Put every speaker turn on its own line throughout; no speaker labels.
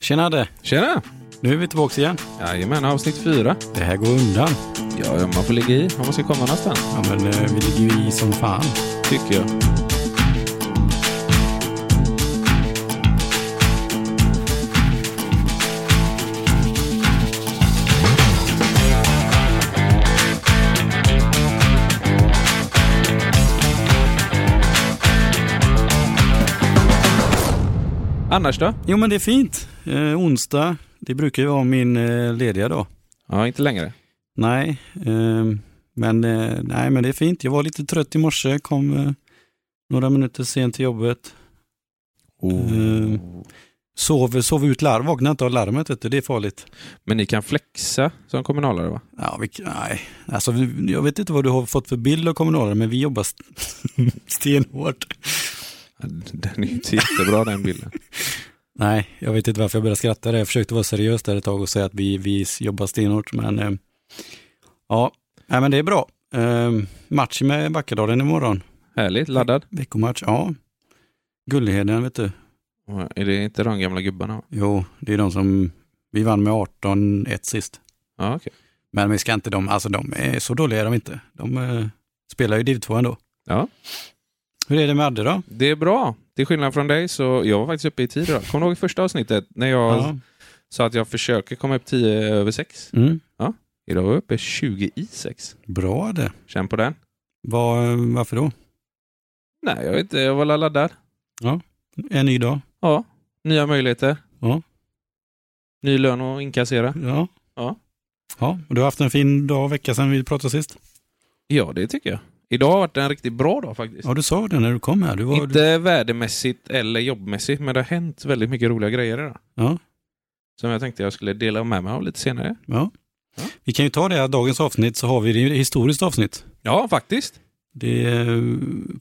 Tjena Adde!
Tjena!
Nu är vi tillbaka igen.
Jajamän, avsnitt fyra.
Det här går undan.
Ja, ja, man får ligga i om man ska komma någonstans,
Ja, men eh, vi ligger ju i som fan.
tycker jag. Annars då?
Jo, men det är fint. Eh, onsdag, det brukar ju vara min eh, lediga dag.
Ja, inte längre.
Nej, ehm, men, eh, nej, men det är fint. Jag var lite trött i morse, kom eh, några minuter sent till jobbet.
Oh.
Eh, sov, sov ut larm, vaknade inte av larmet, vet du. det är farligt.
Men ni kan flexa som kommunalare va?
Ja, vi, nej, alltså, vi- jag vet inte vad du har fått för bild av kommunalare, men vi jobbar st- stenhårt.
Den är ju inte jättebra den bilden.
Nej, jag vet inte varför jag började skratta där. Jag försökte vara seriös där ett tag och säga att vi, vi jobbar stenhårt, men eh, ja, nej, men det är bra. Eh, match med Backadalen imorgon.
Härligt, laddad.
Veckomatch, ja. Gullheden, vet du.
Ja, Är det inte de gamla gubbarna? va?
Jo, det är de som, vi vann med 18-1 sist.
Ja, okej.
Men vi ska inte de, alltså de är så dåliga är de inte. De eh, spelar ju div 2 ändå.
Ja,
Hur är det med Adde då?
det är bra. Till skillnad från dig så jag var faktiskt uppe i tid idag. Kommer du ihåg första avsnittet när jag sa att jag försöker komma upp 10 över 6?
Mm.
Idag var jag uppe 20 i 6.
Bra Adde.
Känn på den.
Var, varför då?
Nej, jag vet inte. Jag var la laddad.
En ny dag.
Ja, nya möjligheter.
Ja.
Ny lön att inkassera.
Ja.
Ja.
Ja, och du har haft en fin dag och vecka sedan vi pratade sist.
Ja, det tycker jag. Idag har varit en riktigt bra dag faktiskt.
Ja, du sa det när du kom här. Du var,
Inte värdemässigt eller jobbmässigt, men det har hänt väldigt mycket roliga grejer idag.
Ja.
Som jag tänkte jag skulle dela med mig av lite senare.
Ja.
Ja.
Vi kan ju ta det här dagens avsnitt så har vi det i historiskt avsnitt.
Ja, faktiskt.
Det är eh,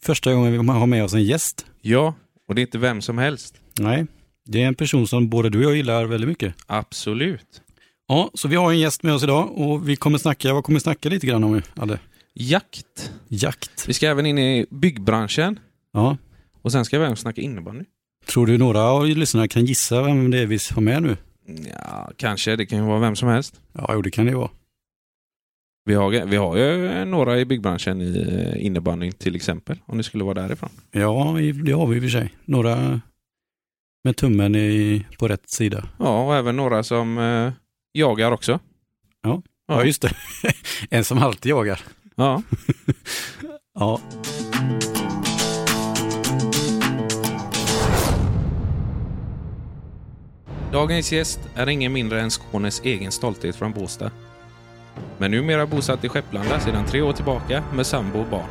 första gången vi har med oss en gäst.
Ja, och det är inte vem som helst.
Nej, det är en person som både du och jag gillar väldigt mycket.
Absolut.
Ja, så vi har en gäst med oss idag och vi kommer snacka, vad kommer vi snacka lite grann om, Adde?
Jakt.
Jakt.
Vi ska även in i byggbranschen
Ja, och
och sen ska vi även snacka innebandy.
tror du några av lyssnarna kan gissa vem det är vi har med nu?
Ja, kanske. Det kan ju vara vem som helst.
Ja, jo, det kan det ju vara.
Vi har, vi har ju några i byggbranschen i eh, innebandy till exempel, om ni skulle vara därifrån.
Ja, i- det har vi i och för sig. Några med tummen i, på rätt sida.
Ja, och även några som eh, jagar också.
Ja,
Ja.
just det. en som alltid jagar.
Ja,
Ja.
Dagens gäst är ingen mindre än Skånes egen stolthet från Båstad. Men numera bosatt i Skepplanda sedan tre år tillbaka med sambo och barn.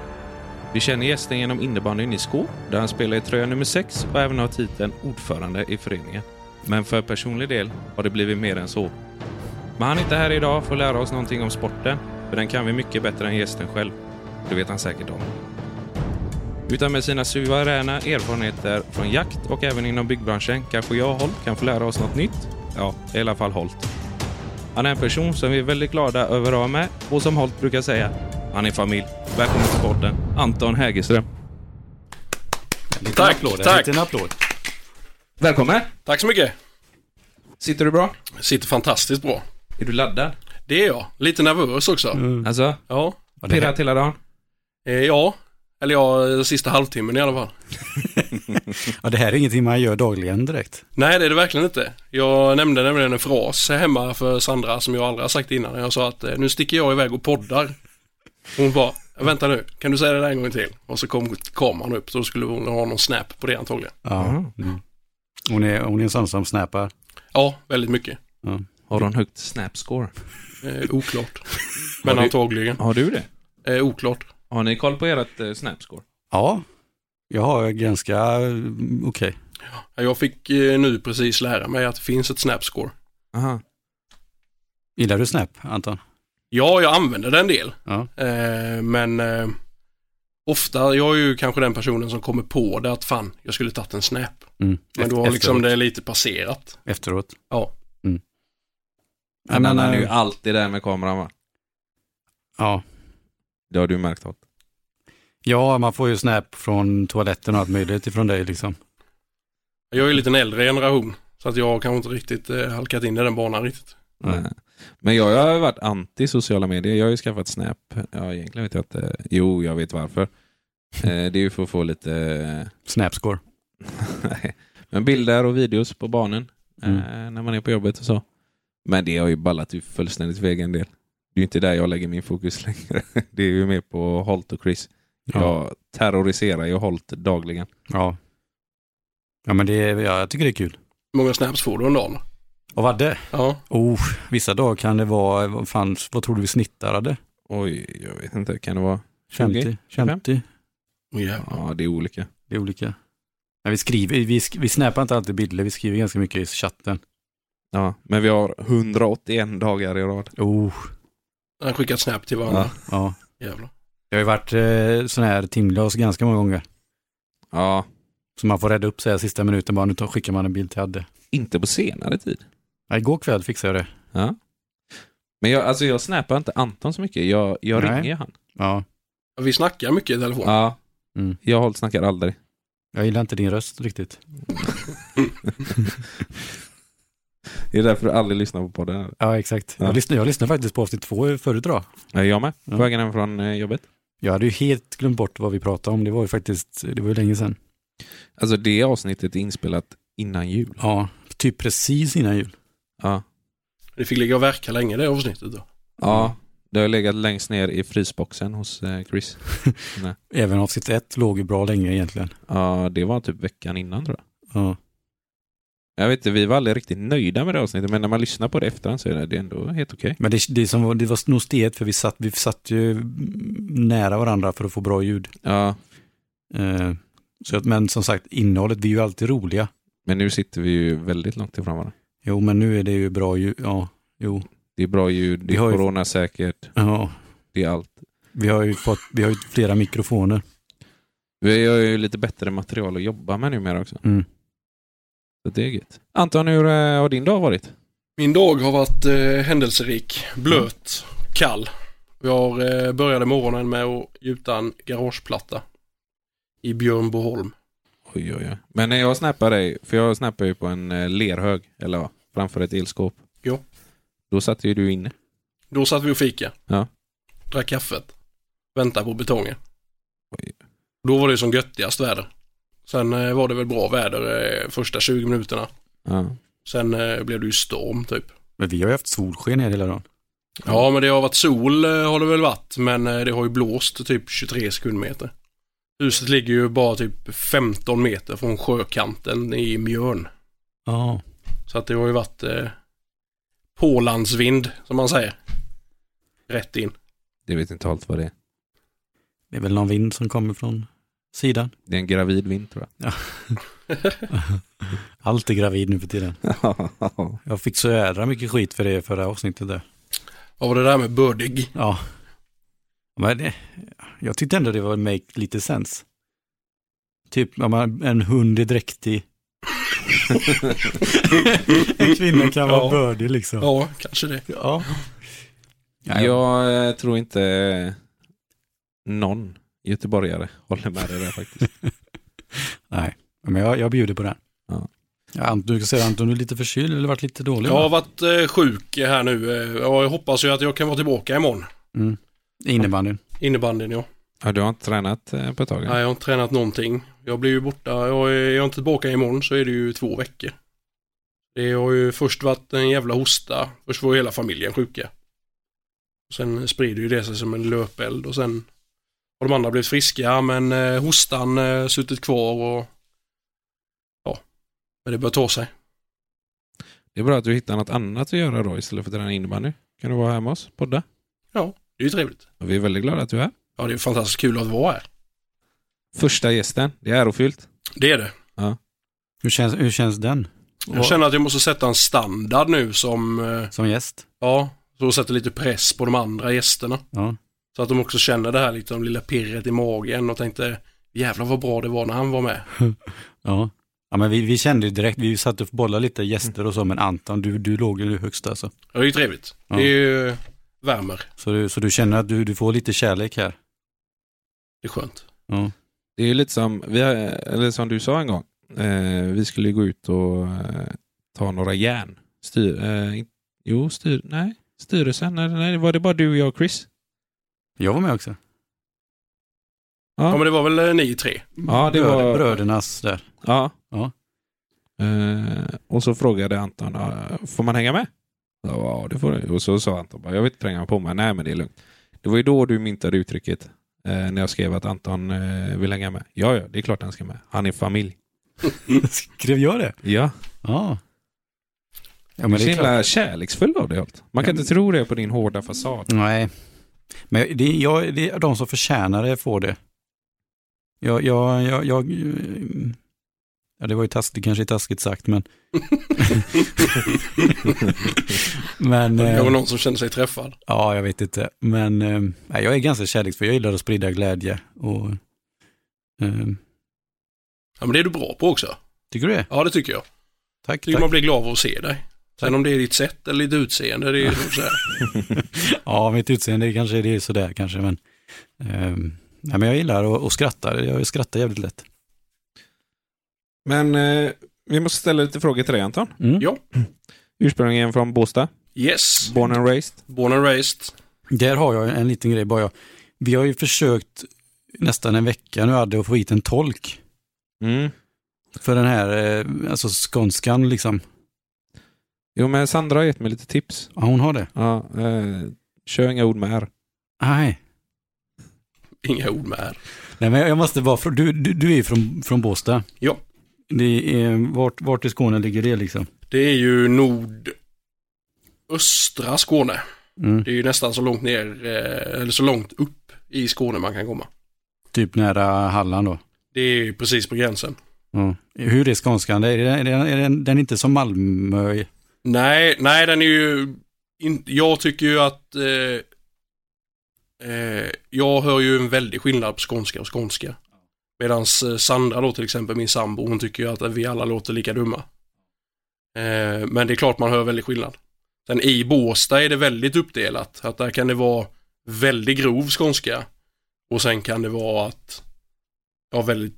Vi känner gästen genom innebandyn i Skå där han spelar i tröja nummer 6 och även har titeln ordförande i föreningen. Men för personlig del har det blivit mer än så. Men han är inte här idag för att lära oss någonting om sporten, för den kan vi mycket bättre än gästen själv. Det vet han säkert om. Utan med sina suveräna erfarenheter från jakt och även inom byggbranschen kanske jag och Holt kan få lära oss något nytt. Ja, i alla fall Holt. Han är en person som vi är väldigt glada över att ha med och som Holt brukar säga, han är familj. Välkommen till podden, Anton Hägerström.
En liten
Tack,
applåd,
tack.
En liten applåd.
Välkommen!
Tack så mycket.
Sitter du bra?
Sitter fantastiskt bra.
Är du laddad?
Det är jag. Lite nervös också.
Alltså,
Ja.
Ja, det, här,
pirrat hela dagen?
Eh, ja. Eller ja, eh, sista halvtimmen i alla fall.
ja, det här är ingenting man gör dagligen direkt.
Nej, det är det verkligen inte. Jag nämnde nämligen en fras hemma för Sandra som jag aldrig har sagt innan. Jag sa att eh, nu sticker jag iväg och poddar. Hon bara, vänta nu, kan du säga det där en gång till? Och så kom kameran upp, så då skulle hon ha någon snap på det antagligen.
Ja. Mm. Hon, är, hon är en sån som snappar.
Ja, väldigt mycket.
Har du en högt snapscore?
Eh, oklart. Men
Har du-
antagligen.
Har du det?
Eh, oklart.
Har ni koll på ert eh, snapscore?
Ja, jag har ganska, mm, okej.
Jag fick eh, nu precis lära mig att det finns ett snapscore.
Aha.
Gillar du snap, Anton?
Ja, jag använder den en del.
Ja. Mm.
Eh, men eh, ofta, jag är ju kanske den personen som kommer på det att fan, jag skulle tagit en snap.
Mm.
Men då har
Efter-
liksom
efteråt.
det lite passerat.
Efteråt.
Ja.
Mm.
Men,
men,
han är
eh,
ju alltid där med kameran va?
ja.
Det har du märkt Holt.
ja, man får ju snap från toaletten och allt möjligt ifrån dig liksom.
Jag är ju lite en äldre generation. Så att jag har kanske inte riktigt eh, halkat in i den banan riktigt.
Nej. Eh, Men jag har varit anti sociala medier. Jag har ju skaffat Snap. Ja, egentligen vet jag inte. Jo, jag vet varför. Eh, Det är ju för att få lite...
Snapscore.
Nej. Men bilder och videos på barnen
Mm.
eh, när man är på jobbet och så. Men det har ju ballat ju fullständigt iväg en del. Det är ju inte där jag lägger min fokus längre. Det är ju mer på Holt och Chris.
Ja.
Jag terroriserar ju Holt dagligen.
Ja. Ja men det är, ja, jag tycker det är kul.
Hur många snaps får du om dagen?
Och vad det?
Ja,
Oh, vissa dagar kan det vara, vad fan, vad tror du vi snittar hade?
Oj, jag vet inte. Kan det vara?
50? 50?
oh, jävlar.
Ja, det är olika.
Det är olika. Nej, vi skriver, vi, sk- vi snappar inte alltid bilder, vi skriver ganska mycket i chatten.
Ja, men vi har 181 dagar i rad.
Oh,
Han har skickat snap till varandra.
ja.
Jävlar.
Jag har ju varit eh, sån här timglas ganska många gånger.
Ja,
Så man får rädda upp sig här sista minuten bara, nu tar- skickar man en bild till Adde.
inte på senare tid.
Ja, igår kväll fixade jag det.
Men jag, alltså jag snappar inte Anton så mycket. Jag, jag
Nej.
ringer ju han.
Ja,
Ja, Vi snackar mycket i telefon.
Ja.
Mm.
Jag Holt snackar aldrig.
jag gillar inte din röst riktigt.
Det är därför du aldrig lyssnar på podden.
Ja, exakt.
Ja.
Jag, lyssnade, jag lyssnade faktiskt på avsnitt två förut idag.
Ja, Jag med, på
Ja.
vägen hem från eh, jobbet.
Jag hade ju helt glömt bort vad vi pratade om. Det var ju faktiskt, det var ju länge sedan.
Alltså det avsnittet är inspelat innan jul.
Ja, typ precis innan jul.
Ja,
Det fick ligga och verka länge det avsnittet då.
ja det har legat längst ner i frysboxen hos eh, Chris.
Även avsnitt ett låg ju bra länge egentligen.
Ja, det var typ veckan innan tror jag.
Ja,
Jag vet inte, vi var aldrig riktigt nöjda med det avsnittet, men när man lyssnar på det efterhand så är det- det är ändå helt okej.
men det, det, som var, det var nog steget för vi satt, vi satt ju mm, nära varandra för att få bra ljud.
Ja,
Eh, så att, men som sagt, innehållet, vi är ju alltid roliga.
men nu sitter vi ju väldigt långt ifrån varandra.
Jo, men nu är det ju bra ljud. Ja, jo.
Det är bra ljud, det
Vi
är
har ju-
coronasäkert,
Ja,
det är allt.
vi har ju fått, vi har ju flera mikrofoner.
Vi har ju lite bättre material att jobba med numera också.
Mm.
Så det är gött. Anton, hur eh, har din dag varit?
Min dag har varit eh, händelserik, blöt, kall. Jag eh, började morgonen med att gjuta en garageplatta i Björnboholm.
Oj, oj, oj. Men när jag snappar dig, för jag snappar ju på en eh, lerhög, eller ja, framför ett elskåp.
Jo.
Då satt ju du inne.
Då satt vi och fika.
Ja.
Drack kaffet. Väntade på betongen.
Oj.
Då var det ju som göttigast väder. Sen eh, var det väl bra väder eh, första 20 minuterna.
Ja.
Sen eh, blev det ju storm typ.
Men vi har ju haft solsken hela dagen.
Ja, men det har varit sol eh, har det väl varit, men eh, det har ju blåst typ 23 sekundmeter. Huset ligger ju bara typ 15 meter från sjökanten i Mjörn.
Ja,
Så att det har ju varit eh, pålandsvind, som man säger. Rätt in.
Det vet inte allt vad det är.
det är väl någon vind som kommer från sidan.
Det är en gravid vind tror
Allt är gravid nu för tiden.
jag.
Jag fick så jädra mycket skit för det i förra avsnittet där.
Vad var det där med bördig?
Ja. Men det, jag tyckte ändå det var make lite sens. Typ om man, en hund är dräktig. en kvinna kan vara
Ja.
bördig liksom.
Ja, kanske det.
Ja. Ja, ja.
jag eh, tror inte eh, någon göteborgare håller med dig där faktiskt.
Nej, men jag, jag bjuder på den.
Ja.
Ja, Anton, du säger Anton, du är lite förkyld eller varit lite dålig?
Jag
va?
har varit eh, sjuk här nu eh, och jag hoppas ju att jag kan vara tillbaka imorgon.
Mm. Innebandyn.
Innebandyn ja.
Ja, du har inte tränat eh, på ett tag? eller?
Nej, jag har inte tränat någonting. Jag blir ju borta. Jag är, är jag inte tillbaka imorgon så är det ju två veckor. Det har ju först varit en jävla hosta. Först var hela familjen sjuka. Sen sprider ju det sig som en löpeld och sen har de andra blivit friska men eh, hostan eh, suttit kvar och ja, men det börjar ta sig.
Det är bra att du hittar något annat att göra då istället för att träna innebandy. Kan du vara här med oss? Podda?
Det är ju trevligt.
Och vi är väldigt glada att du är här.
Ja, det är fantastiskt kul att vara här.
Första gästen, det är ärofyllt.
Det är det.
Hur känns, hur känns den?
Jag känner att jag måste sätta en standard nu som, eh,
Som gäst?
ja, så sätter lite press på de andra gästerna.
Ja.
Så att de också känner det här liksom lilla pirret i magen och tänkte jävlar vad bra det var när han var med.
Ja. Ja, men vi, vi kände ju direkt, vi satt och bollade lite gäster och så, men Anton, du, du låg ju högst alltså.
Ja, Det är ju trevligt.
Ja.
Det är ju värmer.
Så du, så du känner att du, du får lite kärlek här?
Det är skönt.
Ja.
Det är ju lite som, vi har, eller som du sa en gång, eh, vi skulle ju gå ut och eh, ta några järn. Styr, eh, in- jo, styr, nej, styrelsen. Nej, nej, var det bara du, och jag och Chris?
Jag var med också.
Ja,
Ja, men det var väl eh, ni tre?
Ja, det
Bröder,
var-
Brödernas där.
Ja.
Ja.
Eh, och så frågade Anton, "Ah, får man hänga med? Ja, Ja, det får du. Och så sa Anton, bara, jag vill inte tränga på mig. Nej, men det är lugnt. Det var ju då du myntade uttrycket. eh, när jag skrev att Anton eh, vill hänga med. Ja, ja, det är klart han ska med. Han är familj.
Skrev jag det?
Ja,
Ja. Ja,
men
men
du är
det är
så
klart.
himla kärleksfull av dig. allt. Man kan
Ja,
inte tro det på din hårda fasad.
Nej. Men det, är- jag, det är de som förtjänar det får det. Jag, jag, jag, jag mm, ja det var ju taskigt, kanske är taskigt sagt men. men,
Det
eh,
var någon som kände sig träffad.
ja jag vet inte. Men eh, nej, jag är ganska kärleksfull, jag gillar att sprida glädje och eh,
Ja, men det är du bra på också.
tycker du det?
Ja, det tycker jag.
Tack.
Tycker
tack.
man blir glad av att se dig. Sen om det är ditt sätt eller ditt utseende, det är ju så här.
Ja, mitt utseende kanske det är sådär kanske men. Eh, nej, men jag gillar att- att skratta, jag skrattar jävligt lätt.
Men eh, vi måste ställa lite frågor till dig Anton.
Mm.
Ja.
Ursprungligen från Båstad.
Yes,
Born and raised.
born and raised.
Där har jag en liten grej bara. Vi har ju försökt nästan en vecka nu hade att få hit en tolk
Mm.
för den här eh, alltså skånskan liksom.
Jo, men Sandra har gett mig lite tips.
Ja, hon har det.
Ja, eh, kör inga ord med R.
Nej,
Inga ord med här.
Nej men jag måste bara, frå- du, du, du är ju från, från Båstad.
Ja.
Det är, vart, vart i Skåne ligger det liksom?
Det är ju nordöstra Skåne.
Mm.
Det är ju nästan så långt ner, eh, eller så långt upp i Skåne man kan komma.
Typ nära Halland då.
Det är ju precis på gränsen.
Ja. Hur är skånskan? Är den, är den, är den, den är inte som Malmö?
Nej, nej den är ju... In, jag tycker ju att... Eh, eh, jag hör ju en väldig skillnad på skånska och skånska. Medan Sandra då till exempel, min sambo, hon tycker ju att vi alla låter lika dumma. Eh, men det är klart man hör väldigt skillnad. Sen i Båstad är det väldigt uppdelat. Att där kan det vara väldigt grov skånska. Och sen kan det vara att... Ja, väldigt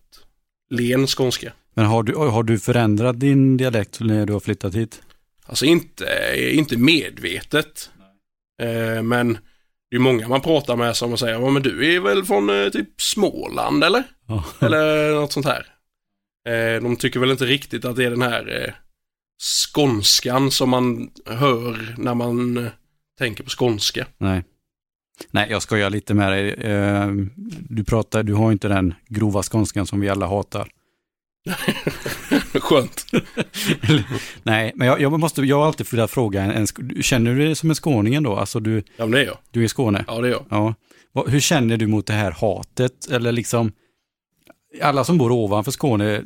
len skånska.
Men har du, har du förändrat din dialekt när du har flyttat hit?
Alltså inte, inte medvetet. Eh, men det är många man pratar med som säger, ja men du är väl från eh, typ Småland eller?
Ja.
Eller något sånt här. Eh, de tycker väl inte riktigt att det är den här eh, skånskan som man hör när man eh, tänker på skånska.
Nej. Nej, jag skojar lite med dig. Eh, Du pratar, du har ju inte den grova skånskan som vi alla hatar.
Skönt.
Nej, men jag, jag, måste, jag har alltid velat fråga, en, en, sk- känner du dig som en skåning ändå? Alltså du,
Ja men det är jag.
du är i Skåne?
Ja det är jag.
Ja. Vad- Hur känner du mot det här hatet? Eller liksom, alla som bor ovanför Skåne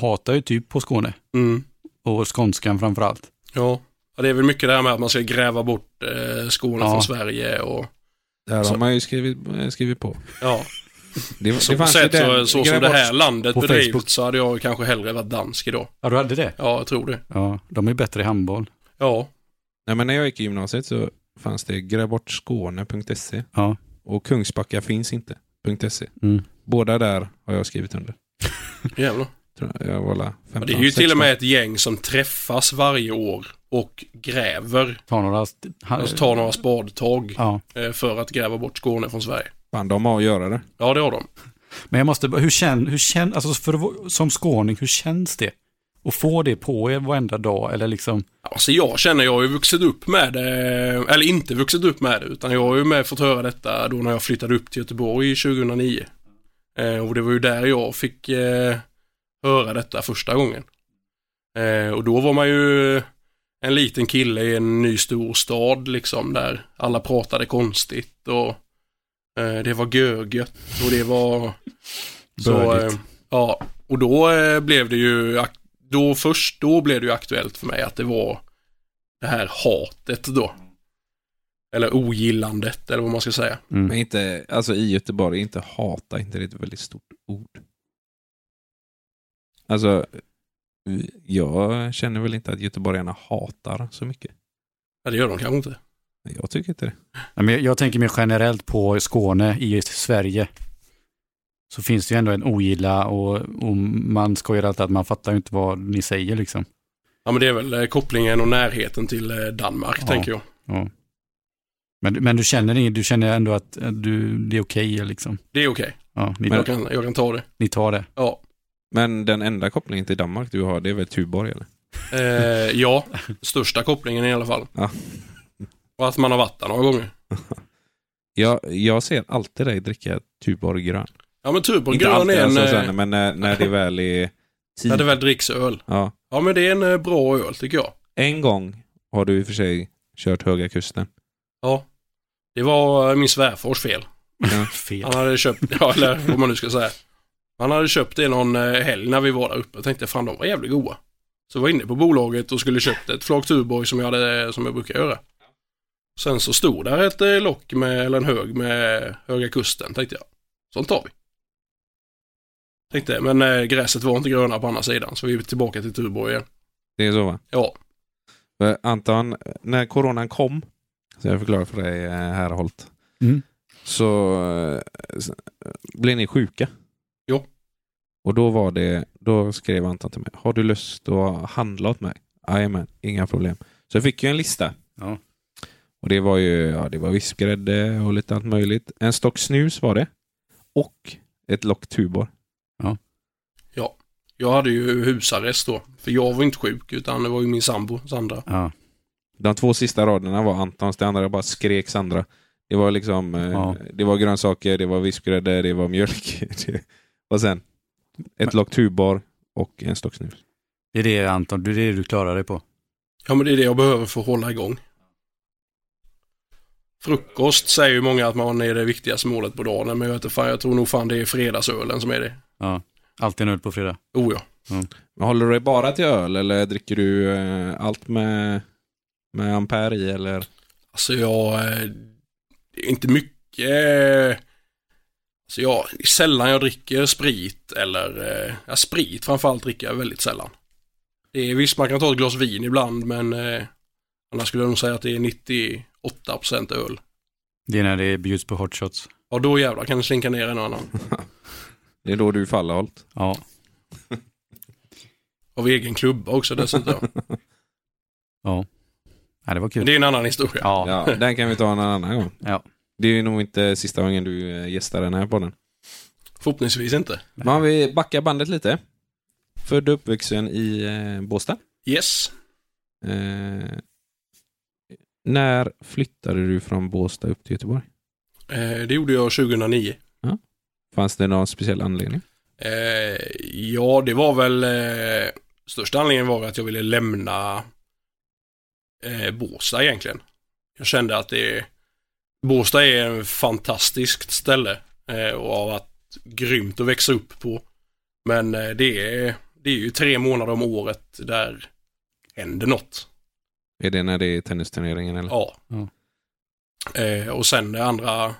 hatar ju typ på Skåne.
Mm.
Och skånskan framför allt.
Ja. ja. Det är väl mycket det här med att man ska gräva bort eh, Skåne
Ja.
från Sverige och
Där har
Så-
man ju skrivit, eh, skrivit på.
ja.
Det,
Så,
det
på
fanns ju
sätt, så,
den-
så som
gräv
det
bort-
här landet
på
bedrivs
Facebook.
så hade jag kanske hellre varit dansk idag.
Ja, du hade det?
Ja, jag tror det.
Ja, de är bättre i handboll.
Ja,
Nej, men när jag gick i gymnasiet så fanns det grävbortskåne.se
Ja.
och Kungsbacka finns inte. .se.
Mm.
Båda där har jag skrivit under.
jävlar.
Tror jag, jag var alla 15,
Ja, det är ju till och
16.
med ett gäng som träffas varje år och gräver.
Ta några... st- ha-
Alltså tar några spadtag
Ja.
eh, för att gräva bort Skåne från Sverige.
Fan, de har att göra det.
Ja, det har de.
Men jag måste, bara- hur känns, hur kän, alltså för, att vara- som skåning, hur känns det? Att få det på er varenda dag eller liksom,
Alltså jag känner, jag har ju vuxit upp med det, eller inte vuxit upp med det, utan jag har ju med fått höra detta då när jag flyttade upp till Göteborg 2009. Eh, och det var ju där jag fick eh, höra detta första gången. Eh, och då var man ju en liten kille i en ny stor stad liksom där alla pratade konstigt och eh, det var gögött och det var så, eh,
Bördigt.
ja, och då eh, blev det ju, ak- då först då blev det ju aktuellt för mig att det var det här hatet då. Eller ogillandet eller vad man ska säga.
mm.
Men inte, alltså i Göteborg, inte hata, inte det är ett väldigt stort ord. Alltså, jag känner väl inte att göteborgarna hatar så mycket.
Ja, det gör de kanske inte.
Men Jag tycker inte det.
Nej, men jag, jag tänker mer generellt på Skåne i Sverige. Så finns det ju ändå en ogilla och, och man skojar alltid att man fattar ju inte vad ni säger liksom.
Ja men det är väl eh, kopplingen och närheten till eh, Danmark
Ja.
tänker jag.
Ja. Men, men du, känner, ing- du känner ändå att eh, du, det är okej liksom?
Det är okej.
Ja, ni,
Jag, kan, jag kan ta det.
ni tar det.
Ja.
Men den enda kopplingen till Danmark du har, det är väl Tuborg eller?
Eh, ja, största kopplingen i alla fall.
Ja.
Och att man har varit där några gånger.
Jag, jag ser alltid dig dricka Tuborg grön.
Ja men Tuborg
Inte
grön
alltid
är en...
alltså,
eh,
sen, men när, när det väl är tid.
när det väl dricks öl.
ja.
Ja men det är en eh, bra öl tycker jag.
En gång har du i och för sig kört Höga Kusten.
Ja. Det var eh, min svärfars fel.
Fel.
Han hade köpt, ja eller vad man nu ska säga. Han hade köpt det någon eh, helg när vi var där uppe. Jag tänkte fan de var jävligt goda. Så var jag inne på bolaget och skulle köpt ett flak Tuborg som jag, hade, som jag brukar göra. Sen så stod där ett eh, lock med, eller en hög med Höga Kusten tänkte jag. Sånt tar vi. Tänkte, men eh, gräset var inte gröna på andra sidan så vi är tillbaka till Tuborg igen.
Det är så va?
Ja,
För Anton, när coronan kom, så jag förklarar för dig eh, här Holt,
Mm.
så eh, s- eh, blev ni sjuka.
Jo.
Och då var det, då skrev Anton till mig, har du lust att handla åt mig? Jajamän, inga problem. Så jag fick ju en lista.
Ja.
Och det var ju, ja det var vispgrädde och lite allt möjligt. En stock snus var det. Och ett lock Tuborg.
jag hade ju husarrest då. För jag var inte sjuk utan det var ju min sambo Sandra.
Ja.
De två sista raderna var Antons, det andra bara skrek Sandra. Det var liksom, eh,
Ja.
det var grönsaker, det var vispgrädde, det var mjölk. Det- och sen ett lock tuborg och en stock snus.
Det är det Anton, det är det du klarar dig på.
Ja men det är det jag behöver för att hålla igång. Frukost säger ju många att man är det viktigaste målet på dagen men jag vet inte fan, jag tror nog fan det är fredagsölen som är det.
Alltid en öl på fredag.
Oh ja.
Men håller du dig bara till öl eller dricker du eh, allt med, med ampere i? Eller?
Alltså jag... eh, Det är inte mycket... eh, Alltså jag... det är Sällan jag dricker sprit eller... eh, Ja, sprit framförallt dricker jag väldigt sällan. Det är, visst, man kan ta ett glas vin ibland men... Eh, annars skulle jag nog säga att det är 98% öl.
Det är när det bjuds på hot shots.
Ja, då jävlar kan det slinka ner en och annan.
Det är då du faller Holt.
Ja.
Av egen klubba också dessutom.
ja, det var
Men
kul.
det är en annan historia.
Ja, ja.
Ja, den kan vi ta en annan gång.
Ja.
Det är ju nog inte sista gången du eh, gästar den här podden.
Förhoppningsvis inte.
Men om vi backar bandet lite. Född och uppvuxen i eh, Båstad.
Yes.
Eh, när flyttade du från Båstad upp till Göteborg?
Eh, det gjorde jag 2009.
Fanns det någon speciell anledning?
Eh, ja, det var väl... Eh, största anledningen var att jag ville lämna eh, Båstad egentligen. Jag kände att det... Båstad är en fantastiskt ställe eh, och har varit grymt att växa upp på. Men eh, det, är, det är ju tre månader om året där händer något.
Är det när det är tennisturneringen eller?
Ja.
Ja.
Eh, och sen det andra,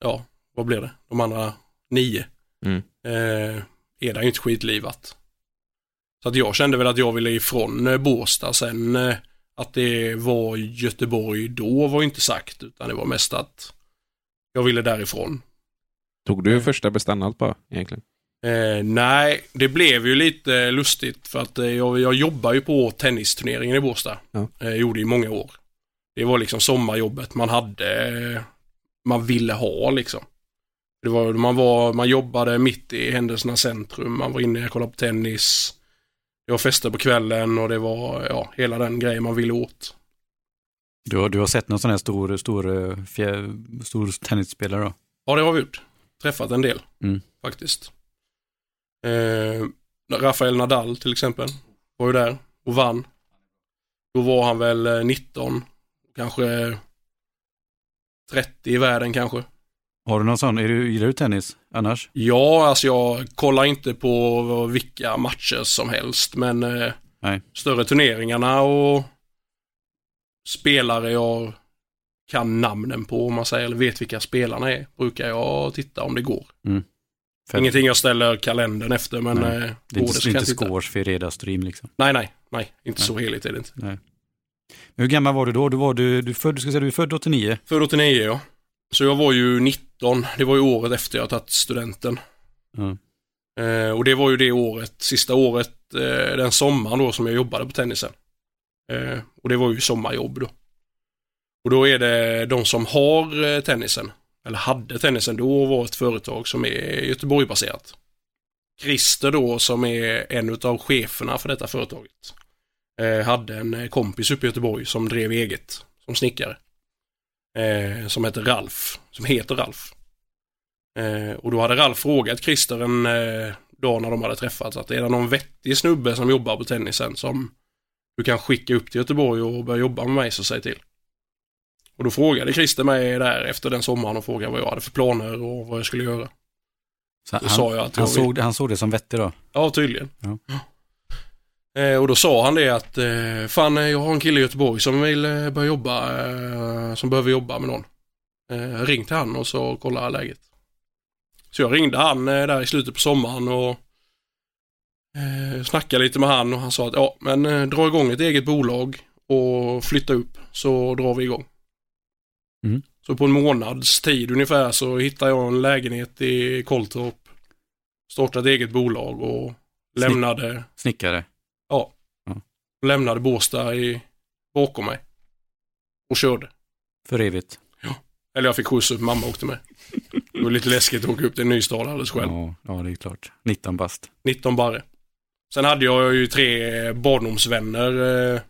ja, vad blev det? De andra nio.
Mm.
Eh, är det ju inte skitlivat. Så att jag kände väl att jag ville ifrån eh, Båstad sen eh, att det var Göteborg då var ju inte sagt utan det var mest att jag ville därifrån.
Tog du första bestannat bara egentligen?
Eh, nej, det blev ju lite eh, lustigt för att eh, jag, jag jobbar ju på tennisturneringen i Båstad.
Ja.
Eh, gjorde i många år. Det var liksom sommarjobbet man hade, eh, man ville ha liksom. Det var, man, var, man jobbade mitt i händelsernas centrum, man var inne och kollade på tennis. Det var fester på kvällen och det var ja, hela den grejen man ville åt.
Du, har- du har sett någon sån här stor, stor, eh, fjä- stor tennisspelare då?
Ja, det har vi gjort. Träffat en del
Mm.
faktiskt. Eh, Rafael Nadal till exempel var ju där och vann. Då var han väl eh, 19, kanske 30 i världen kanske.
Har du någon sån? Är du, gillar du tennis annars?
Ja, alltså jag kollar inte på vilka matcher som helst, men eh,
Nej.
större turneringarna och spelare jag kan namnen på, om man säger, eller vet vilka spelarna är, brukar jag titta om det går.
Mm. För
Ingenting jag ställer kalendern efter, men
Nej,
eh,
Det är
går det
inte,
så kan jag
inte
titta.
scores för reda stream liksom.
Nej, nej, nej, inte
Nej.
så heligt är det inte.
Men Hur gammal var du då? Du, var, du, du, född, du ska säga du är född 89.
Född 89 ja. Så jag var ju 19, det var ju året efter jag tagit studenten.
Ja.
Eh, och det var ju det året, sista året, eh, den sommaren då som jag jobbade på tennisen. Eh, och det var ju sommarjobb då. Och då är det de som har eh, tennisen, eller hade tennisen då, var ett företag som är Göteborg-baserat. Christer då, som är en av cheferna för detta företaget, eh, hade en eh, kompis uppe i Göteborg som drev eget, som snickare. Eh, som hette Ralf, som heter Ralf. Eh, och då hade Ralf frågat Christer en eh, dag när de hade träffats att är det någon vettig snubbe som jobbar på tennisen som du kan skicka upp till Göteborg och börja jobba med mig så säg till. Och då frågade Christer mig där efter den sommaren och frågade vad jag hade för planer och vad jag skulle göra.
Så
Då
han,
sa jag att
han,
jag vill-
såg, det- han såg det som vettig då.
Ja, tydligen.
Ja.
Eh, och då sa han det att eh, fan, eh, jag har en kille i Göteborg som vill eh, börja jobba, eh, som behöver jobba med någon. Eh, ring till han och så kolla läget. Så jag ringde han eh, där i slutet på sommaren och eh, snackade lite med han och han sa att ja, men eh, dra igång ett eget bolag och flytta upp så drar vi igång.
Mm.
Så på en månads tid ungefär så hittade jag en lägenhet i Koltorp startade eget bolag och
Snick-
lämnade,
Snickare.
lämnade Båstad i, bakom mig. Och körde.
För evigt.
Eller jag fick skjuts upp, mamma åkte med. Det var lite läskigt att åka upp till Nystad alldeles själv.
Ja, ja, det är klart. 19 bast.
19 barre. Sen hade jag ju tre barndomsvänner eh,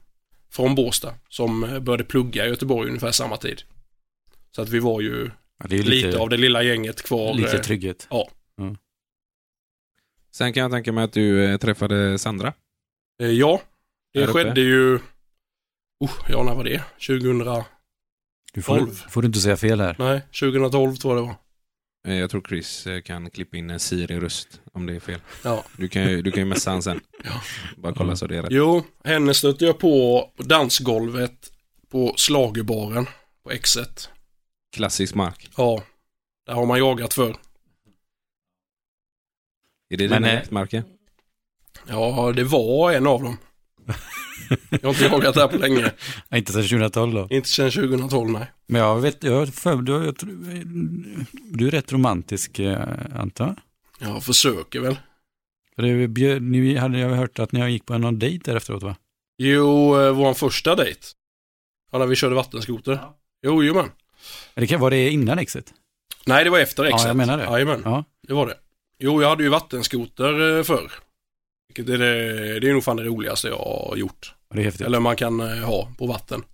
från Båstad som eh, började plugga i Göteborg ungefär samma tid. Så att vi var ju
Ja, det är ju
lite,
lite, lite,
av det lilla gänget kvar. eh,
trygghet.
Sen kan jag tänka mig att du eh, träffade Sandra.
Eh, Ja, det
Där uppe.
skedde ju... Oh, ja, när var det? 2000...
Du får,
tolv.
får du inte säga fel här.
Nej, 2012 tror jag det var.
Eh, Jag tror Chris eh, kan klippa in en Siri-röst om det är fel.
Ja.
Du kan ju, du kan ju messa han sen. Bara kolla så det är rätt.
Jo, henne stötte jag på på dansgolvet på slagerbaren på Exet.
Klassisk mark.
Ja, där har man jagat för.
Är
Men,
det dina
eh,
jaktmarker?
Ja, det var en av dem. Jag har inte jagat där på länge.
Ja, inte sedan 2012 då.
Inte sedan 2012, nej.
Men jag vet, jag, för, du, jag, tror- du är rätt romantisk eh, antar jag.
Jag försöker väl.
För det bjöd- Ni hade jag hört att ni gick på någon dejt där efteråt va?
Jo, eh, vår första dejt. Ja, när vi körde vattenskoter. Jo, jajamän.
Eller kan- var det innan exit?
Nej, det var efter
Ja,
Exet.
jag menar det.
Jajamän,
Ja.
det var det. Jo, jag hade ju vattenskoter eh, förr. Vilket är det, det är nog fan det roligaste jag har gjort.
Det är häftigt.
Eller man kan eh, ha på vatten.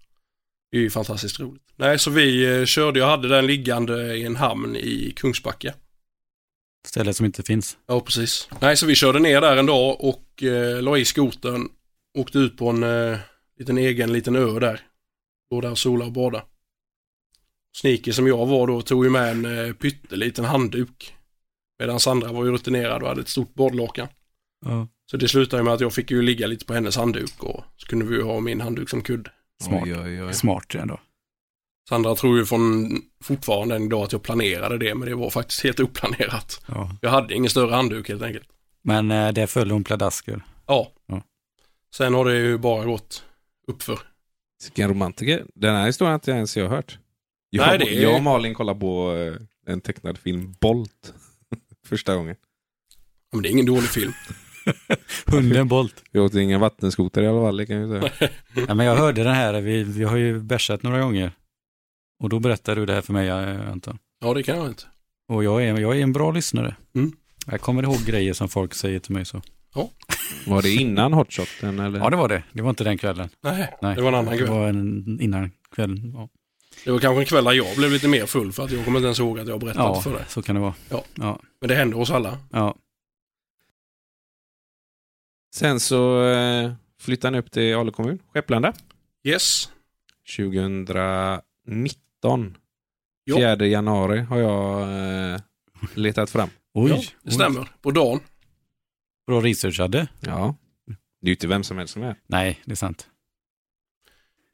Det är ju fantastiskt roligt. Nej, så vi eh, körde, jag hade den liggande i en hamn i Kungsbacka.
Stället som inte finns.
Ja, precis. Nej, så vi körde ner där en dag och eh, la i skotern. Åkte ut på en eh, liten egen liten ö där. Låg där och solade och badade. Sneaker som jag var då tog ju med en eh, pytteliten handduk. Medan Sandra var ju rutinerad och hade ett stort badlakan.
Ja.
Så det slutade ju med att jag fick ju ligga lite på hennes handduk och så kunde vi ju ha min handduk som kudde.
Smart.
Oj, oj, oj.
Smart ändå.
Sandra tror ju från fortfarande än idag att jag planerade det, men det var faktiskt helt oplanerat.
Ja.
Jag hade ingen större handduk helt enkelt.
Men eh, där föll hon pladasker.
Ja.
Ja.
Sen har det ju bara gått uppför.
Vilken romantiker. Den här historien har inte jag ens jag hört. Jag,
Nej, det är-
jag och Malin kollade på eh, en tecknad film, Bolt. Första gången.
Ja, Men det är ingen dålig film.
Hunden Bolt.
Vi åkte ingen vattenskoter i alla fall, det kan jag ju säga.
Nej, men jag hörde den här, vi, vi har ju bärsat några gånger. Och då berättade du det här för mig eh, Anton.
Ja, det kan jag inte.
Och jag är, jag är en bra lyssnare.
Mm.
Jag kommer ihåg grejer som folk säger till mig så.
Var det innan hotshoten eller?
Ja det var det, det var inte den kvällen.
Nej,
Nej.
det var en annan
Det
kväll.
var en, innan kvällen. Ja,
Det var kanske en kväll där jag blev lite mer full för att jag kommer inte ens ihåg att jag har berättat
ja
för dig.
så kan det vara.
Ja.
Ja,
Men det hände oss alla.
ja.
Sen så eh, flyttade han upp till Ale kommun, Skepplanda.
Yes.
2019.
Ja.
4 januari har jag eh, letat fram.
Oj,
ja, det stämmer. På dagen.
Oj. Bra researchade.
Ja. Det är ju inte vem som helst som är.
Nej, det är sant.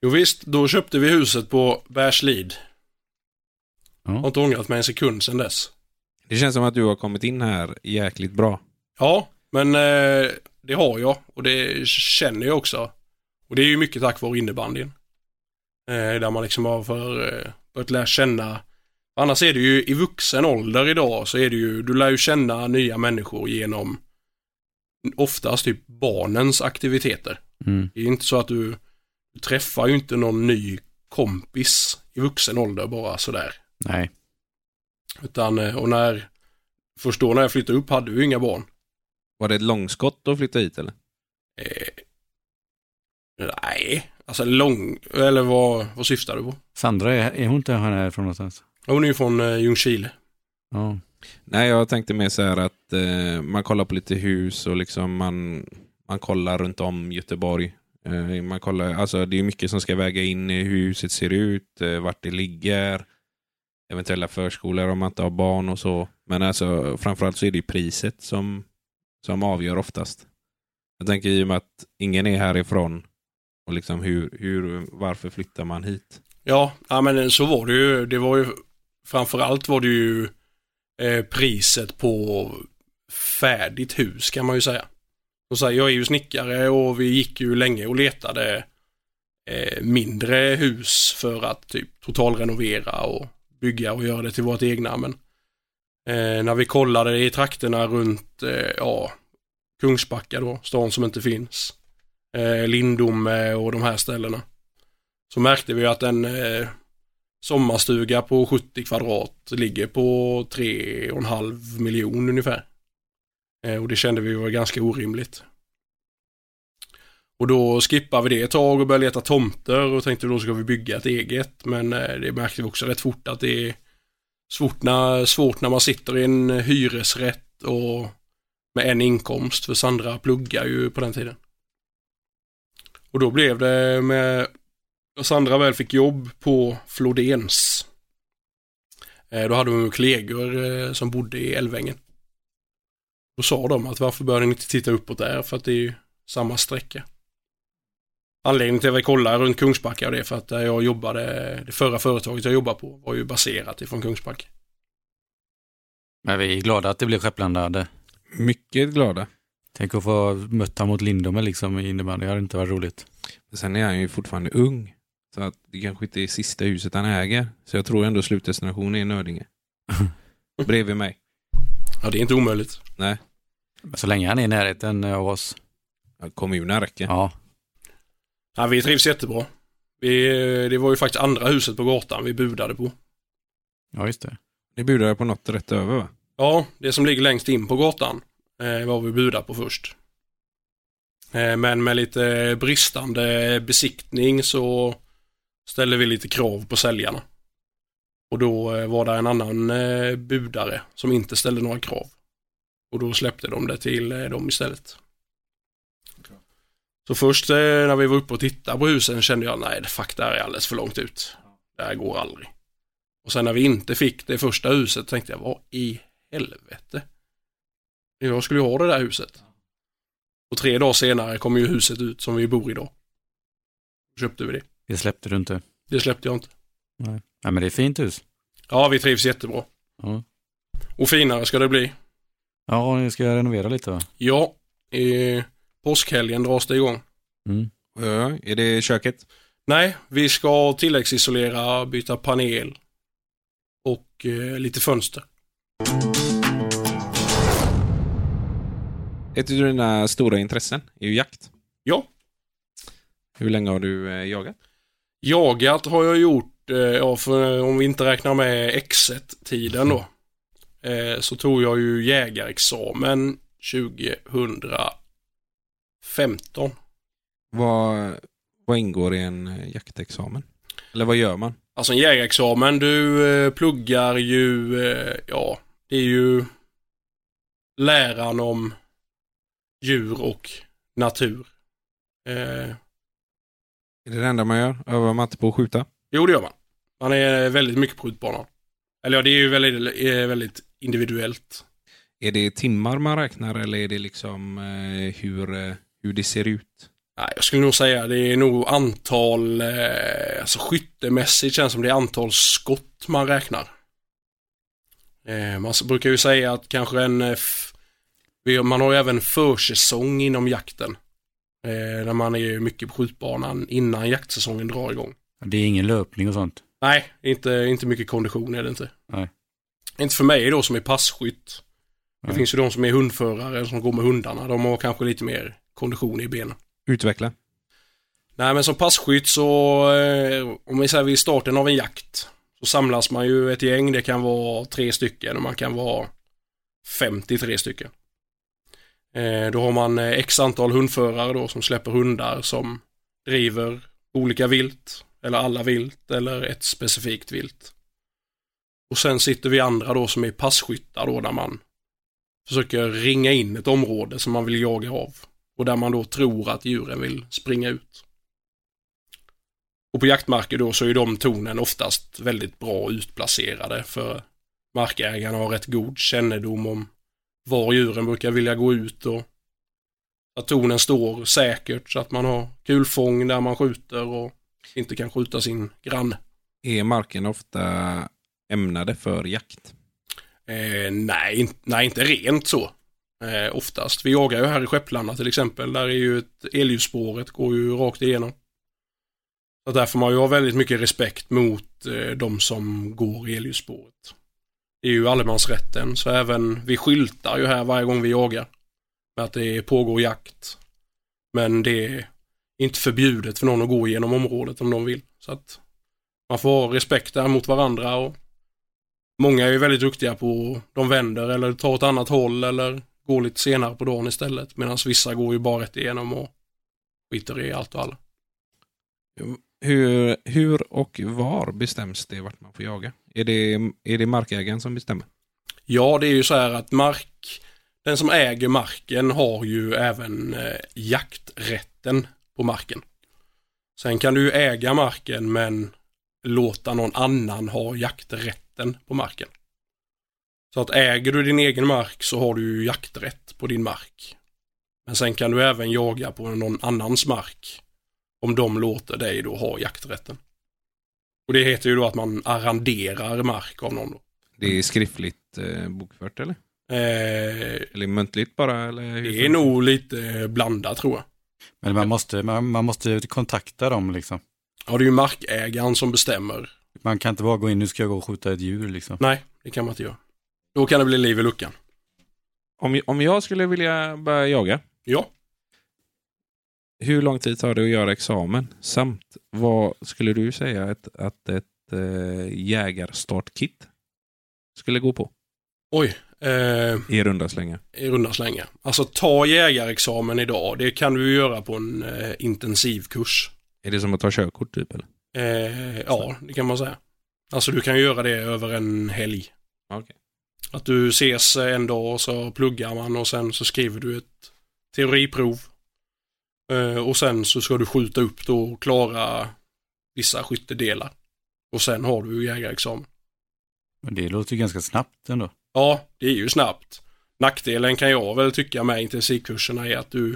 Jo visst, då köpte vi huset på Bärslid.
Ja.
Har inte ångrat mig en sekund sedan dess.
Det känns som att du har kommit in här jäkligt bra.
Ja, men eh, det har jag och det känner jag också. Och det är ju mycket tack vare innebandyn. Eh, där man liksom har för, eh, börjat lära känna Annars är det ju i vuxen ålder idag så är det ju, du lär ju känna nya människor genom oftast typ barnens aktiviteter.
Mm.
Det är ju inte så att du, du träffar ju inte någon ny kompis i vuxen ålder bara sådär.
Nej.
Utan, eh, och när, först då när jag flyttade upp hade vi ju inga barn.
Var det ett långskott att flytta hit eller?
Eh, nej, alltså lång, eller vad, vad syftar du på?
Sandra, är, är hon inte härifrån någonstans?
Ja, Hon är ju från eh, Ljungskile.
Ja.
Nej, jag tänkte mer så här att eh, man kollar på lite hus och liksom man, man kollar runt om Göteborg. Eh, man kollar, alltså det är mycket som ska väga in i hur huset ser ut, eh, vart det ligger, eventuella förskolor om man inte har barn och så. Men alltså framförallt så är det ju priset som, som avgör oftast. Jag tänker i och med att ingen är härifrån och liksom hur, hur, varför flyttar man hit?
Ja, ja men så var det ju. Det var ju framförallt var det ju eh, priset på färdigt hus kan man ju säga. Och så här, jag är ju snickare och vi gick ju länge och letade eh, mindre hus för att typ totalrenovera och bygga och göra det till vårt egna. Men eh, när vi kollade i trakterna runt eh, ja, Kungsbacka då, stan som inte finns, eh, Lindome och de här ställena så märkte vi att en eh, sommarstuga på 70 kvadrat ligger på 3,5 miljon ungefär. Eh, och det kände vi var ganska orimligt. Och då skippade vi det ett tag och började leta tomter och tänkte då ska vi bygga ett eget. Men eh, det märkte vi också rätt fort att det är svårt när, svårt när man sitter i en hyresrätt och med en inkomst. För Sandra pluggar ju på den tiden. Och då blev det med när Sandra väl fick jobb på Flodens. eh, Då hade vi kollegor eh, som bodde i Älvängen. Då sa de att varför började ni inte titta uppåt där för att det är ju samma sträcka. Anledningen till att vi kollade runt Kungsbacka och det är för att där jag jobbade, det förra företaget jag jobbade på var ju baserat ifrån Kungsbacka.
Men vi är glada att det blev Skepplanda.
Mycket glada.
Tänk att få möta mot Lindome liksom i innebandy. Det hade inte varit roligt.
Men Sen är han ju fortfarande ung. Så att det kanske inte är sista huset han äger. Så jag tror ändå slutdestinationen är Nördinge. Bredvid mig.
Ja, det är inte omöjligt.
Nej,
Så länge han är i närheten av oss.
ja, kommunen räcker.
Ja.
Ja, vi trivs jättebra. Vi, eh, det var ju faktiskt andra huset på gatan vi budade på.
Ja, just det.
Ni budade på något rätt över va?
Ja, det som ligger längst in på gatan eh, var vi budat på först. Eh, men med lite bristande besiktning så ställde vi lite krav på säljarna. Och då eh, var det en annan eh, budare som inte ställde några krav. Och då släppte de det till eh, dem istället. Så först eh, när vi var uppe och tittade på husen kände jag nej, fuck det här är alldeles för långt ut. Det här går aldrig. Och sen när vi inte fick det första huset tänkte jag, vad i helvete? Jag skulle ju ha det där huset. Och tre dagar senare kom ju huset ut som vi bor i idag. Då köpte vi det.
Det släppte du inte.
Det släppte jag inte.
Nej, men det är fint hus.
Ja, vi trivs jättebra.
Ja,
Och finare ska det bli.
ja ni ska renovera lite va?
Ja, i påskhelgen dras det igång.
Mm.
Ja, är det köket?
Nej, vi ska tilläggsisolera, byta panel och eh, lite fönster.
Ett av dina stora intressen är ju jakt.
Ja.
Hur länge har du eh, jagat?
Jagat har jag gjort, eh, ja, för om vi inte räknar med X1-tiden då, eh, så tog jag ju jägarexamen 2015.
Vad, vad ingår i en eh, jaktexamen? Eller vad gör man?
Alltså en jägarexamen, du eh, pluggar ju, eh, ja, det är ju läran om djur och natur. Eh,
Är det det enda man gör? Övar man inte på att skjuta?
Jo, det gör man. Man är väldigt mycket på utbanan. Eller ja, det är ju väldigt, eh, väldigt individuellt.
Är det timmar man räknar eller är det liksom eh, hur, eh, hur det ser ut?
Nej, jag skulle nog säga det är nog antal, eh, alltså skyttemässigt känns som det är antal skott man räknar. Eh, man s- brukar ju säga att kanske en, eh, f- vi- man har ju även försäsong inom jakten. Eh, där man är ju mycket på skjutbanan innan jaktsäsongen drar igång.
Det är ingen löpning och sånt.
Nej, inte, inte mycket kondition är det inte.
Nej.
Inte för mig då som är passskytt. Det
Nej.
finns ju de som är hundförare som går med hundarna. De har kanske lite mer kondition i benen.
Utveckla.
Nej, men som passkytt så, eh, om vi säger vid starten av en jakt, så samlas man ju ett gäng. Det kan vara tre stycken och man kan vara 53 stycken. Eh, Då har man eh, x antal hundförare då som släpper hundar som driver olika vilt, eller alla vilt, eller ett specifikt vilt. Och sen sitter vi andra då som är passkyttar då, där man försöker ringa in ett område som man vill jaga av. Och där man då tror att djuren vill springa ut. Och på jaktmarker då så är de tornen oftast väldigt bra utplacerade för markägarna har rätt god kännedom om var djuren brukar vilja gå ut och att tornen står säkert så att man har kulfång där man skjuter och inte kan skjuta sin grann.
Är marken ofta ämnade för jakt?
Eh, nej, in- nej, inte rent så. Eh, oftast. Vi jagar ju här i Skepplanda till exempel. Där är ju ett elljusspåret går ju rakt igenom. Så där får man ju ha väldigt mycket respekt mot eh, de som går i elljusspåret. Det är ju allemansrätten, så även vi skyltar ju här varje gång vi jagar. Med att det pågår jakt. Men det är inte förbjudet för någon att gå genom området om de vill. Så att man får ha respekt där mot varandra och Många är ju väldigt duktiga på de vänder eller tar åt annat håll eller går lite senare på dagen istället. Medan vissa går ju bara rätt igenom och skiter i allt och alla.
Hur, hur och var bestäms det vart man får jaga? Är det, är det markägaren som bestämmer?
Ja, det är ju så här att mark, den som äger marken har ju även eh, jakträtten på marken. Sen kan du ju äga marken men låta någon annan ha jakträtten på marken. Så att äger du din egen mark så har du ju jakträtt på din mark. Men sen kan du även jaga på någon annans mark om de låter dig då ha jakträtten. Och det heter ju då att man arrenderar mark av någon då.
Det är skriftligt eh, bokfört eller?
Eh,
Eller muntligt bara? Eller hur
Det är nog lite eh, blandat tror jag.
Men man måste, man, man måste kontakta dem liksom.
Ja, det är ju markägaren som bestämmer.
Man kan inte bara gå in, nu ska jag gå och skjuta ett djur liksom.
Nej, det kan man inte göra. Då kan det bli liv i luckan.
Om, om jag skulle vilja börja jaga,
Ja,
hur lång tid tar det att göra examen? Samt vad skulle du säga att, att ett eh, jägarstartkit skulle gå på
oj. Eh,
i runda slängar?
I runda slängar. Alltså ta jägarexamen idag. Det kan du ju göra på en eh, intensivkurs.
Är det som att ta körkort typ? Eller?
Eh, ja, det kan man säga. Alltså du kan ju göra det över en helg.
Okej.
Att du ses en dag och så pluggar man och sen så skriver du ett teoriprov. Eh, Och sen så ska du skjuta upp då och klara vissa skyttedelar. Och sen har du ju jägarexamen.
Men det låter ju ganska snabbt ändå.
Ja, det är ju snabbt. Nackdelen kan jag väl tycka med intensivkurserna är att du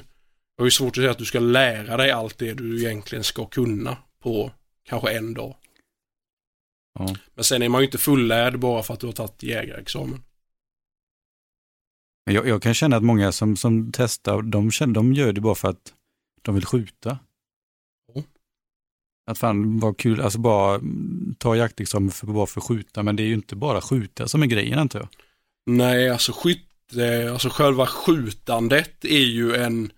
det är ju svårt att säga att du ska lära dig allt det du egentligen ska kunna på kanske en dag.
Ja.
Men sen är man ju inte fullärd bara för att du har tagit jägarexamen.
Men jag, jag kan känna att många som, som testar, de, känner, de gör det bara för att de vill skjuta.
Ja.
Att fan vad kul, alltså bara mm, ta jaktexamen för, bara för att skjuta, men det är ju inte bara skjuta som är grejen antar jag.
Nej, alltså skytte, alltså själva skjutandet är ju en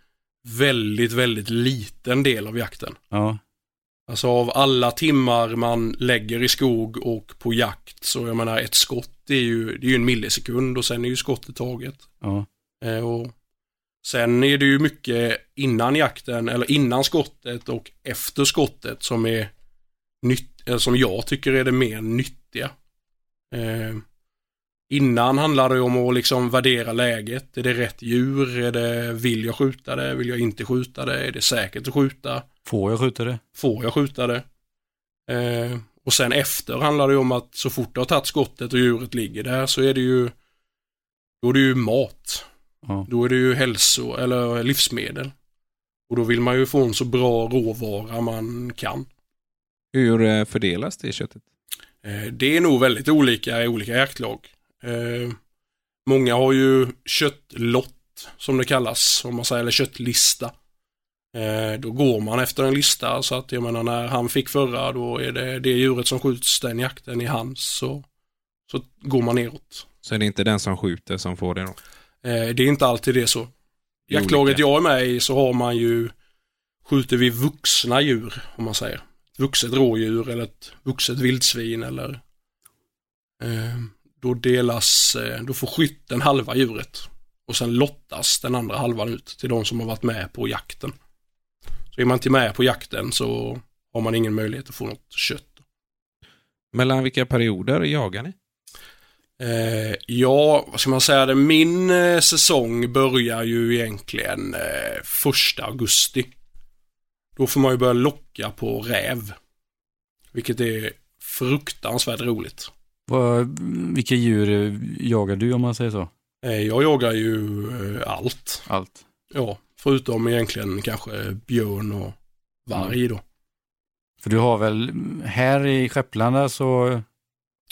väldigt, väldigt liten del av jakten.
Ja,
Alltså av alla timmar man lägger i skog och på jakt så jag menar ett skott är ju, det är ju en millisekund och sen är ju skottet taget.
ja,
Eh, och sen är det ju mycket innan jakten, eller innan skottet och efter skottet som är nytt, eh, som jag tycker är det mer nyttiga. Eh, innan handlar det ju om att liksom värdera läget. Är det rätt djur? Är det, vill jag skjuta det? Vill jag inte skjuta det? Är det säkert att skjuta?
får jag skjuta det?
får jag skjuta det? Eh, och sen efter handlar det ju om att så fort jag har tagit skottet och djuret ligger där så är det ju då är det ju mat.
Ja.
Då är det ju hälso eller livsmedel. Och då vill man ju få en så bra råvara man kan.
Hur eh, fördelas det köttet?
Eh, Det är nog väldigt olika i olika jaktlag. Eh, Många har ju köttlott som det kallas, om man säger, eller köttlista. Eh, då går man efter en lista så att jag menar när han fick förra då är det det djuret som skjuts den jakten i hans så, så går man neråt.
Så är det inte den som skjuter som får det då?
Eh, det är inte alltid det så.
Det är
Jaktlaget
olika.
jag är med i så har man ju skjuter vi vuxna djur om man säger. Ett vuxet rådjur eller ett vuxet vildsvin eller eh, då delas, eh, då får skytten halva djuret och sen lottas den andra halvan ut till de som har varit med på jakten. Så är man inte med på jakten så har man ingen möjlighet att få något kött.
Mellan vilka perioder jagar ni?
Eh, ja, vad ska man säga det? Min eh, säsong börjar ju egentligen eh, första augusti. Då får man ju börja locka på räv. Vilket är fruktansvärt roligt.
Vad, vilka djur eh, jagar du om man säger så?
Eh, jag jagar ju eh, allt.
Allt.
Ja, förutom egentligen kanske björn och varg då.
För du har väl, här i Skepplanda så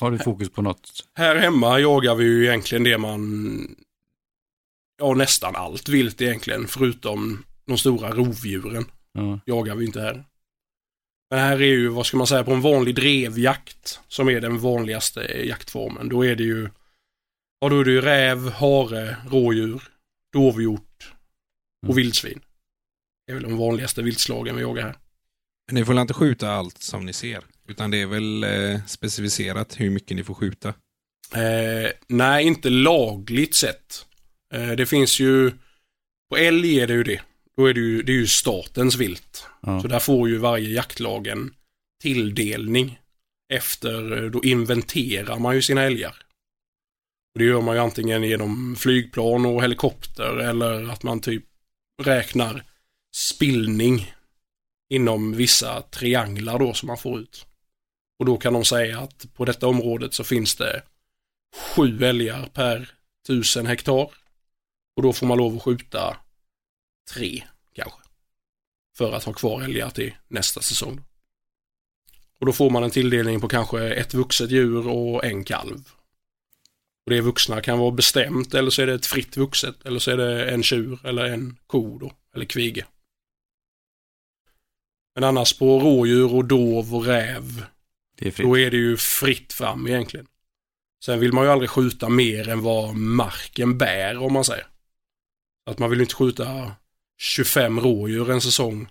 har du fokus på något.
Här hemma jagar vi ju egentligen det man, ja nästan allt vilt egentligen, förutom de stora rovdjuren
Ja.
jagar vi inte här. Men här är ju, vad ska man säga, på en vanlig drevjakt, som är den vanligaste eh, jaktformen, då är det ju, ja då är det ju räv, hare, rådjur, dovhjort
Mm.
och vildsvin. Det är väl de vanligaste viltslagen vi jagar här.
Ni får väl inte skjuta allt som ni ser? Utan det är väl eh, specificerat hur mycket ni får skjuta?
Eh, nej, inte lagligt sett. Eh, det finns ju, på älg är det ju det. Då är det ju, det är ju statens vilt.
Ja.
Så där får ju varje jaktlag en tilldelning. Efter, eh, då inventerar man ju sina älgar. Och Det gör man ju antingen genom flygplan och helikopter eller att man typ räknar spillning inom vissa trianglar då som man får ut. Och då kan de säga att på detta området så finns det sju älgar per tusen hektar. Och då får man lov att skjuta tre kanske. För att ha kvar älgar till nästa säsong. Och då får man en tilldelning på kanske ett vuxet djur och en kalv. Och det vuxna kan vara bestämt eller så är det ett fritt vuxet eller så är det en tjur eller en ko då, eller kvige. Men annars på rådjur och dov och räv
Det är fritt.
då är det ju fritt fram egentligen. Sen vill man ju aldrig skjuta mer än vad marken bär om man säger. Att man vill ju inte skjuta 25 rådjur en säsong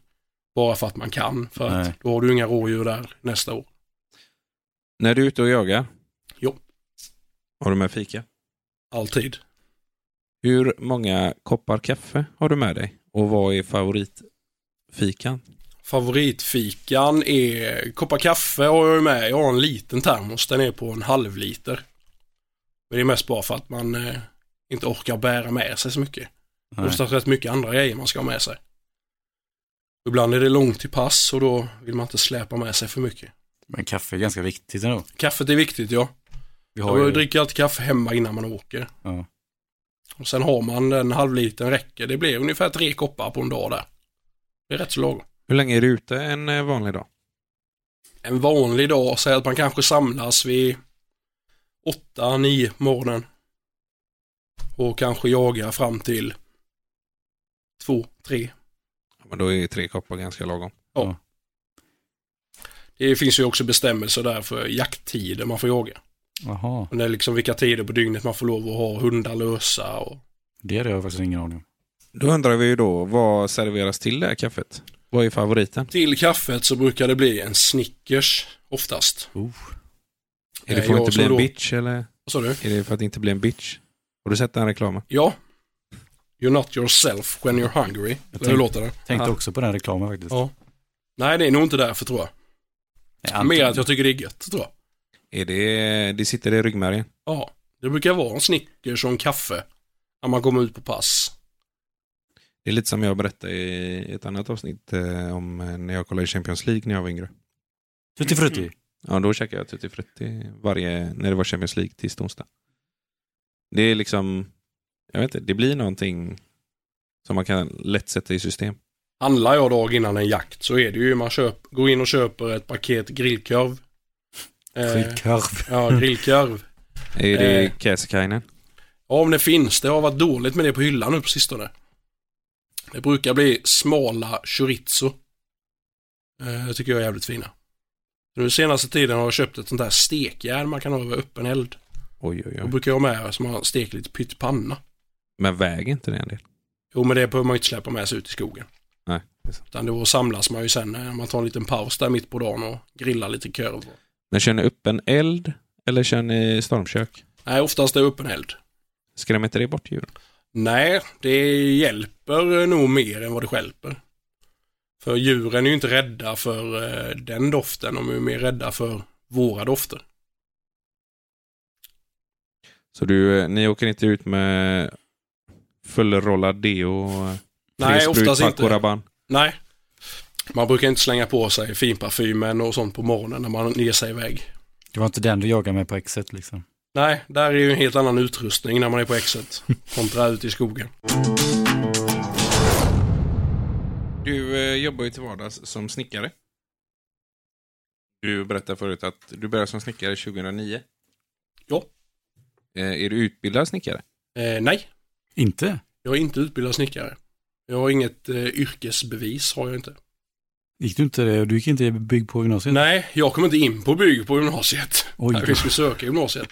bara för att man kan. För att
Nej.
då har du inga rådjur där nästa år.
När du är ute och jagar?
Jo.
Har du med fika?
Alltid.
Hur många koppar kaffe har du med dig? Och vad är favoritfikan?
Favoritfikan är koppar kaffe har jag ju med. Jag har en liten termos. Den är på en halv liter. Men det är mest bara för att man eh, inte orkar bära med sig så mycket.
Nej.
Oftast rätt mycket andra grejer man ska ha med sig. Ibland är det långt till pass och då vill man inte släpa med sig för mycket.
Men kaffe är ganska viktigt ändå.
Kaffet är viktigt ja.
Vi har
Jag
ju,
dricker alltid kaffe hemma innan man åker.
Ja.
Och sen har man en halv liter räcker. Det blir ungefär tre koppar på en dag där. Det är rätt så lagom.
Hur länge är du ute en eh, vanlig dag?
En vanlig dag, säg att man kanske samlas vid 8-9 morgonen. Och kanske jagar fram till 2-3.
Ja, Men då är tre koppar ganska lagom.
Det finns ju också bestämmelser där för jakttider man får jaga.
Jaha,
Och det är liksom vilka tider på dygnet man får lov att ha hundar lösa och
det hade jag faktiskt ingen aning om.
Då undrar vi ju då, vad serveras till det här kaffet? Vad är favoriten?
till kaffet så brukar det bli en Snickers oftast.
Oh.
Är det
Nej,
för att
Eh, jag
inte bli
som
en
då-
bitch eller?
Vad sa du?
Är det för att inte bli en bitch? Har du sett den reklamen?
Ja. You're not yourself when you're hungry. Eller
tänkte-
hur låter det?
Tänkte
Ja.
också på den reklamen faktiskt.
Ja. Nej, det är nog inte därför tror jag.
Nej, Anton-
Mer att jag tycker det är gött tror jag.
Är det, det sitter i ryggmärgen?
Ja. Det brukar vara en Snickers och en kaffe när man kommer ut på pass.
Det är lite som jag berättade i ett annat avsnitt eh, om eh, när jag kollade i Champions League när jag var yngre.
Tutti frutti.
Ja, då käkade jag tutti frutti varje, när det var Champions League tisdag onsdag. Det är liksom, jag vet inte, det blir någonting som man kan lätt sätta i system.
Handlar jag dag innan en jakt så är det ju man köp, går in och köper ett paket grillkorv. Eh,
Skitkorv.
ja, grillkorv.
Är det
Eh.
Käsikainen?
Ja, om det finns. Det har varit dåligt med det på hyllan nu på sistone. Det brukar bli smala chorizo. Eh, Det tycker jag är jävligt fina. Nu senaste tiden har jag köpt ett sånt där stekjärn man kan ha över öppen eld.
Oj, oj,
Då
oj.
brukar jag ha med som man steker lite pyttpanna.
Men väger inte det en del?
Jo, men det behöver man ju inte släppa med sig ut i skogen.
Nej, det är sant.
Utan då samlas man ju sen när man tar en liten paus där mitt på dagen och grillar lite korv.
Men kör ni öppen eld eller kör ni stormkök?
Nej, oftast är det öppen eld.
Skrämmer inte det bort djuren?
Nej, det hjälper eh, nog mer än vad det stjälper. För djuren är ju inte rädda för eh, den doften, de är ju mer rädda för våra dofter.
Så du, eh, ni åker inte ut med fullrollad deo? eh,
Nej,
frisprut,
oftast
pack och
inte.
Rabanne?
Nej. Man brukar inte slänga på sig finparfymen och sånt på morgonen när man ger sig iväg.
Det var inte den du jagade med på exet liksom.
Nej, där är ju en helt annan utrustning när man är på exet. Kontra ut i skogen.
Du eh, jobbar ju till vardags som snickare. Du berättade förut att du började som snickare 2009.
Ja.
Eh, är du utbildad snickare?
Eh, nej,
Inte?
jag är inte utbildad snickare. Jag har inget eh, yrkesbevis, har jag inte.
Gick du inte det? Du gick inte bygg på gymnasiet?
Nej, jag kom inte in på bygg på gymnasiet.
Oj.
Nej, vi skulle söka gymnasiet.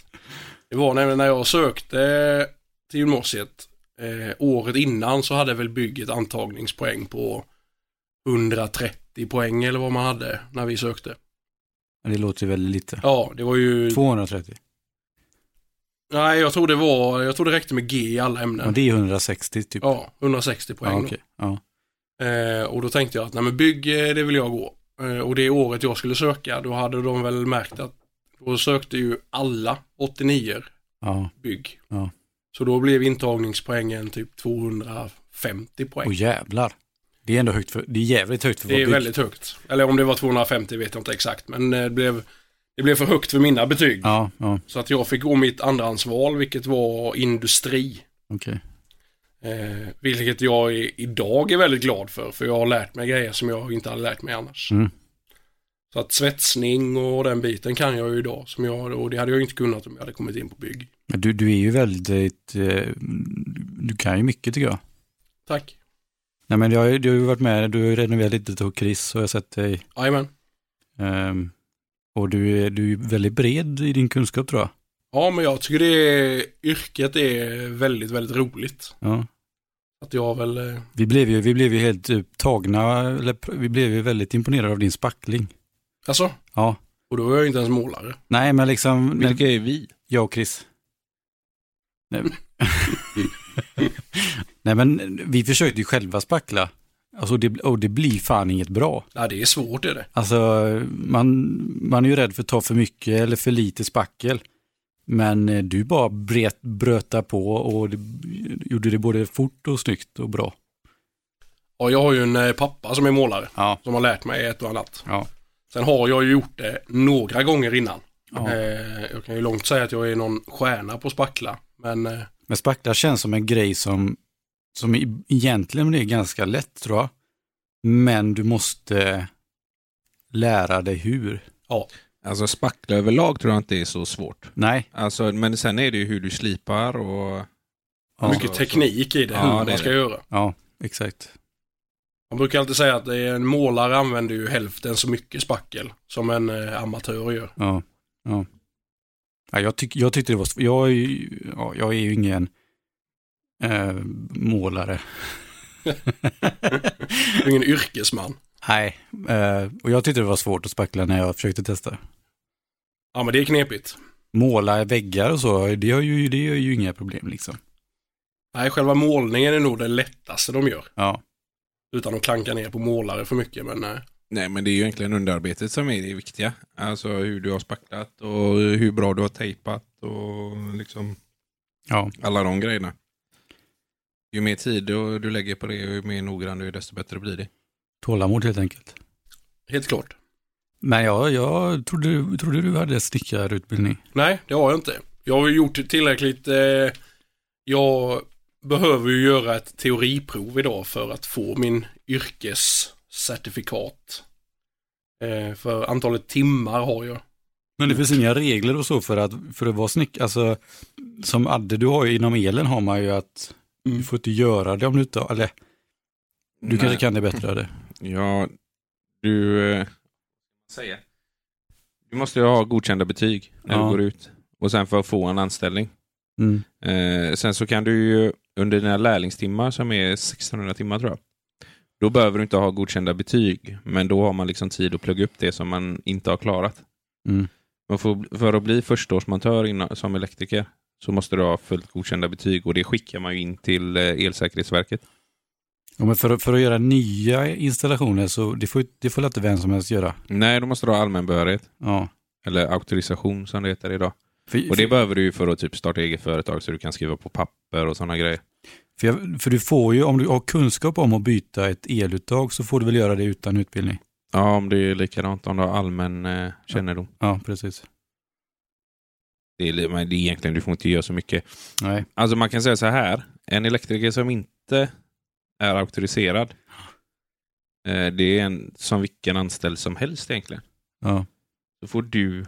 Det var nämligen när jag sökte till gymnasiet eh, året innan så hade väl bygget antagningspoäng på 130 poäng eller vad man hade när vi sökte.
Men Det låter ju väldigt lite.
Ja, det var ju...
230.
Nej, jag tror det var... Jag tror det räckte med G i alla
Men
ämnen.
det är 160 typ.
Ja, 160 poäng.
ja
då.
okej. Ja.
Eh, och då tänkte jag att nej men bygg, eh, det vill jag gå. Eh, och det året jag skulle söka, då hade de väl märkt att då sökte ju alla 89
ja.
bygg.
Ja.
Så då blev intagningspoängen typ 250 poäng.
Och jävlar. Det är ändå högt för, det är jävligt högt för
det är
bygg.
väldigt högt. Eller om det var 250 vet jag inte exakt, men eh, det blev, det blev för högt för mina betyg.
Ja, ja,
Så att jag fick gå mitt andrahandsval, vilket var industri.
okej.
Eh, vilket jag i, idag är väldigt glad för, för jag har lärt mig grejer som jag inte hade lärt mig annars.
Mm.
Så att svetsning och den biten kan jag ju idag, som jag, och det hade jag ju inte kunnat om jag hade kommit in på bygg.
Men du, du är ju väldigt, eh, du kan ju mycket tycker jag.
Tack.
Nej men jag, har ju- du har ju varit med, du har ju renoverat lite till Chris och jag har sett dig.
Jajamän.
Ehm, och du är, du är väldigt bred i din kunskap tror jag.
Ja, men jag tycker det yrket är väldigt, väldigt roligt.
Ja.
Att jag väl, eh,
Vi blev ju, vi blev ju helt eh, tagna, eller pr- vi blev ju väldigt imponerade av din spackling.
alltså,
Ja.
och då är jag ju inte ens målare.
Nej men liksom, när-
Vilka är vi?
jag och Chris. Nej. Nej men vi försökte ju själva spackla. Alltså det, och det blir fan inget bra.
Ja, det är svårt är det.
Alltså man, man är ju rädd för att ta för mycket eller för lite spackel. Men eh, du bara bret, bröta på och det, gjorde det både fort och snyggt och bra.
Ja, jag har ju en eh, pappa som är målare,
Ja.
som har lärt mig ett och annat.
Ja.
Sen har jag ju gjort det några gånger innan.
ja.
Eh, jag kan ju långt säga att jag är någon stjärna på spackla, men eh,
Men spackla känns som en grej som, som e- egentligen är ganska lätt tror jag. Men du måste lära dig hur.
Alltså spackla överlag tror jag inte är så svårt.
Nej,
Alltså, men sen är det ju hur du slipar och...
Ja.
mycket teknik i det,
Ja,
hur
det är
man ska
det.
göra.
ja exakt.
Man brukar alltid säga att det är en målare använder ju hälften så mycket spackel som en eh, amatör gör.
Ja, ja. ja jag, tyck, jag tyckte det var sv- jag är ju, ja, jag är ju ingen eh, målare.
Du är ingen yrkesman.
Nej, eh, och jag tyckte det var svårt att spackla när jag försökte testa.
Ja, men det är knepigt.
Måla väggar och så, det är ju, det är ju inga problem liksom.
Nej, själva målningen är nog det lättaste de gör.
Ja,
Utan att klanka ner på målare för mycket, men eh,
Nej, men det är ju egentligen underarbetet som är det viktiga. Alltså hur du har spacklat och hur bra du har tejpat och liksom
ja,
alla de grejerna. Ju mer tid du du lägger på det och ju mer noggrann du är, desto bättre blir det.
tålamod helt enkelt.
helt klart.
Men ja, jag trodde, du- trodde du hade snickarutbildning.
Nej, det har jag inte. Jag har ju gjort tillräckligt. Eh, jag behöver ju göra ett teoriprov idag för att få min yrkescertifikat. Eh, för antalet timmar har jag.
Men det finns inga regler och så för att, för att vara snickare, alltså som Adde, du har ju inom elen har man ju att Du får inte göra det om du inte, eller Du kanske kan det bättre det.
Ja, du... eh, Säger. Du måste ju ha godkända betyg när
Ja.
du går ut. Och sen för att få en anställning.
Mm.
Eh, sen så kan du ju under dina lärlingstimmar som är 1600 timmar tror jag. Då behöver du inte ha godkända betyg. Men då har man liksom tid att plugga upp det som man inte har klarat.
Mm.
Men för, för att bli förstaårsmontör innan, som elektriker så måste du ha fullt godkända betyg och det skickar man ju in till eh, Elsäkerhetsverket.
Ja, men för, att- för att göra nya installationer så det får, ju- det får inte vem som helst göra.
Nej, då måste du ha allmän behörighet.
Ja.
Eller auktorisation som det heter idag.
För,
Och det
för,
behöver du ju för att typ starta eget företag så du kan skriva på papper och sådana grejer.
för, jag, för du får ju, om du har kunskap om att byta ett eluttag så får du väl göra det utan utbildning.
Ja, om det är likadant om du har allmän eh, kännedom.
Ja, precis.
Det är, li- men det är egentligen, du får inte göra så mycket.
Nej.
Alltså man kan säga så här. En elektriker som inte är auktoriserad. Eh, det är en som vilken anställd som helst egentligen.
Ja.
Så får du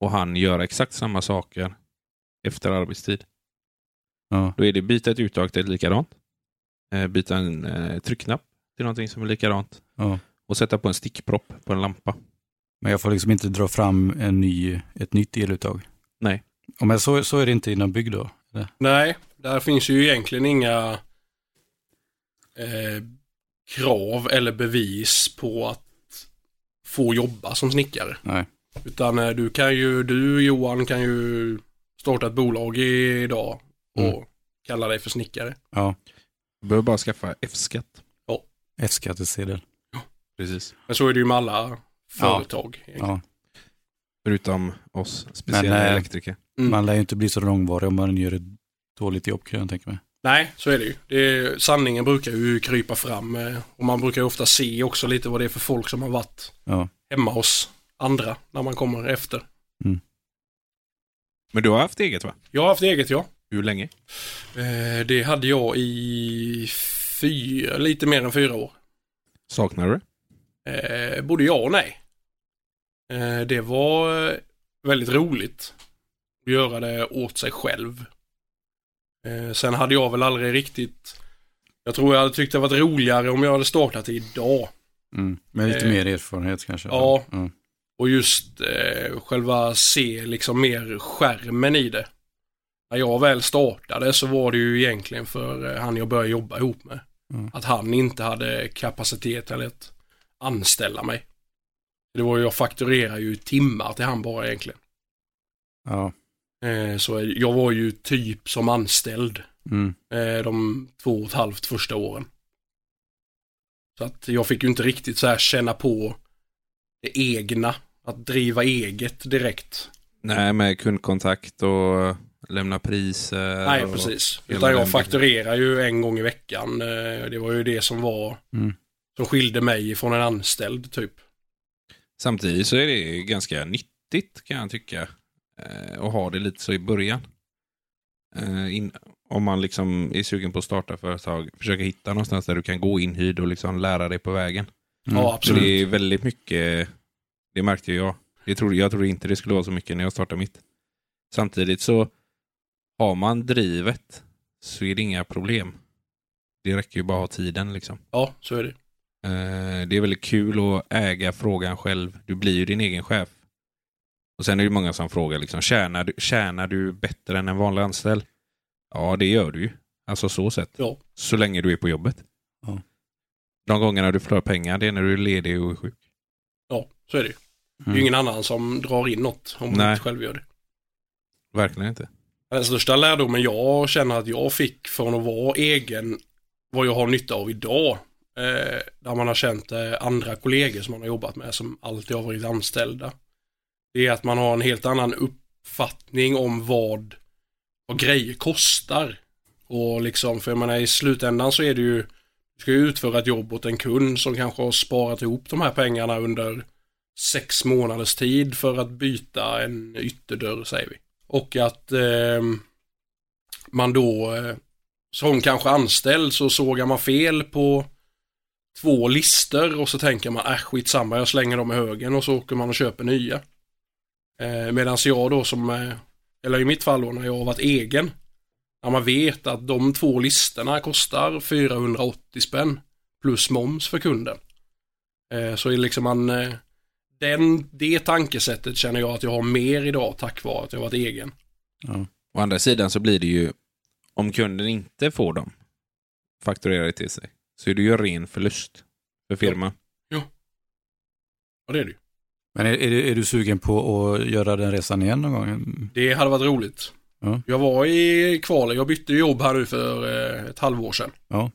och han göra exakt samma saker efter arbetstid.
Ja.
Då är det byta ett uttag till ett likadant. Eh, byta en eh, tryckknapp till någonting som är likadant.
Ja.
Och sätta på en stickpropp på en lampa.
Men jag får liksom inte dra fram en ny, ett nytt eluttag.
Nej.
Ja, men så, så är det inte inom bygg då? eller?
Nej, där finns ju egentligen inga eh, krav eller bevis på att få jobba som snickare.
Nej.
Utan eh, du kan ju, du Johan kan ju starta ett bolag idag och
Mm.
kalla dig för snickare.
Ja,
Du behöver bara skaffa F-skatt.
F-skattesedel.
Precis.
Men så är det ju med alla företag. egentligen.
Ja.
Förutom oss speciella
Men, eh,
elektriker.
Mm.
Man lär ju inte bli så långvarig om man gör ett dåligt jobb kan jag tänka mig.
Nej, så är det ju. Det är, sanningen brukar ju krypa fram eh, och man brukar ju ofta se också lite vad det är för folk som har varit
Ja.
hemma hos andra när man kommer efter.
Men du har haft eget va?
Jag har haft eget ja.
Hur länge?
Eh, Det hade jag i fyra, lite mer än fyra år.
Saknar du det?
Eh, Både ja och nej. Eh, Det var eh, väldigt roligt att göra det åt sig själv. Eh, Sen hade jag väl aldrig riktigt, jag tror jag hade tyckt det varit roligare om jag hade startat det idag.
Mm. Med lite
Eh,
mer erfarenhet kanske? Mm.
ja.
ja.
Och just eh, själva se liksom mer skärmen i det. När jag väl startade så var det ju egentligen för eh, han jag började jobba ihop med.
Mm.
Att han inte hade kapacitet eller att anställa mig. Det var ju, jag fakturerar ju timmar till han bara egentligen.
ja.
Eh, så jag var ju typ som anställd
Mm.
eh, de två och ett halvt första åren. Så att jag fick ju inte riktigt så här känna på det egna, att driva eget direkt.
Nej, med kundkontakt och lämna priser.
Nej,
Eh, och...
precis.
hela
Utan
den
jag fakturerar ju en gång i veckan. Eh, Det var ju det som var,
Mm.
som skilde mig från en anställd typ.
Samtidigt så är det ganska nyttigt kan jag tycka. eh, Att ha det lite så i början. Eh, In, om man liksom är sugen på att starta företag. Försöka hitta någonstans där du kan gå inhyrd och liksom lära dig på vägen.
Mm.
Ja,
Så
absolut.
det är väldigt mycket, det märkte ju jag. Jag trodde, jag trodde inte det skulle vara så mycket när jag startade mitt. Samtidigt så har man drivet så är det inga problem. Det räcker ju bara att ha tiden liksom.
Ja, så är det.
Eh, Det är väldigt kul att äga frågan själv. Du blir ju din egen chef. Och sen är det ju många som frågar liksom, tjänar du, tjänar du bättre än en vanlig anställd? Ja, det gör du ju. Alltså så sett.
Ja.
Så länge du är på jobbet.
Ja.
De gångerna du förlorar pengar, det är när du är ledig och är sjuk.
Ja, så är det ju. Det är
Mm.
ju ingen annan som drar in något om man
Nej.
inte själv gör det.
Verkligen inte.
Den största lärdomen jag känner att jag fick från att vara egen, vad jag har nytta av idag, eh, där man har känt eh, andra kollegor som man har jobbat med som alltid har varit anställda, det är att man har en helt annan uppfattning om vad, vad grejer kostar. Och liksom, för jag menar i slutändan så är det ju, du ska ju utföra ett jobb åt en kund som kanske har sparat ihop de här pengarna under sex månaders tid för att byta en ytterdörr säger vi. Och att ehm, man då eh, som kanske anställd så sågar man fel på två listor och så tänker man äh skitsamma jag slänger dem i högen och så åker man och köper nya. Eh, Medan jag då som, eh, eller i mitt fall då när jag har varit egen, när man vet att de två listorna kostar 480 spänn plus moms för kunden. Eh, så är liksom man, eh, den, det tankesättet känner jag att jag har mer idag tack vare att jag varit egen.
Ja.
Å andra sidan så blir det ju, om kunden inte får dem fakturerade till sig, så är det ju en ren förlust för firman.
Och det är det ju.
Men är, är, du, är du sugen på att göra den resan igen någon gång?
Det hade varit roligt.
Ja.
Jag var i kvalet, jag bytte jobb här nu för eh, ett halvår sedan.
Ja.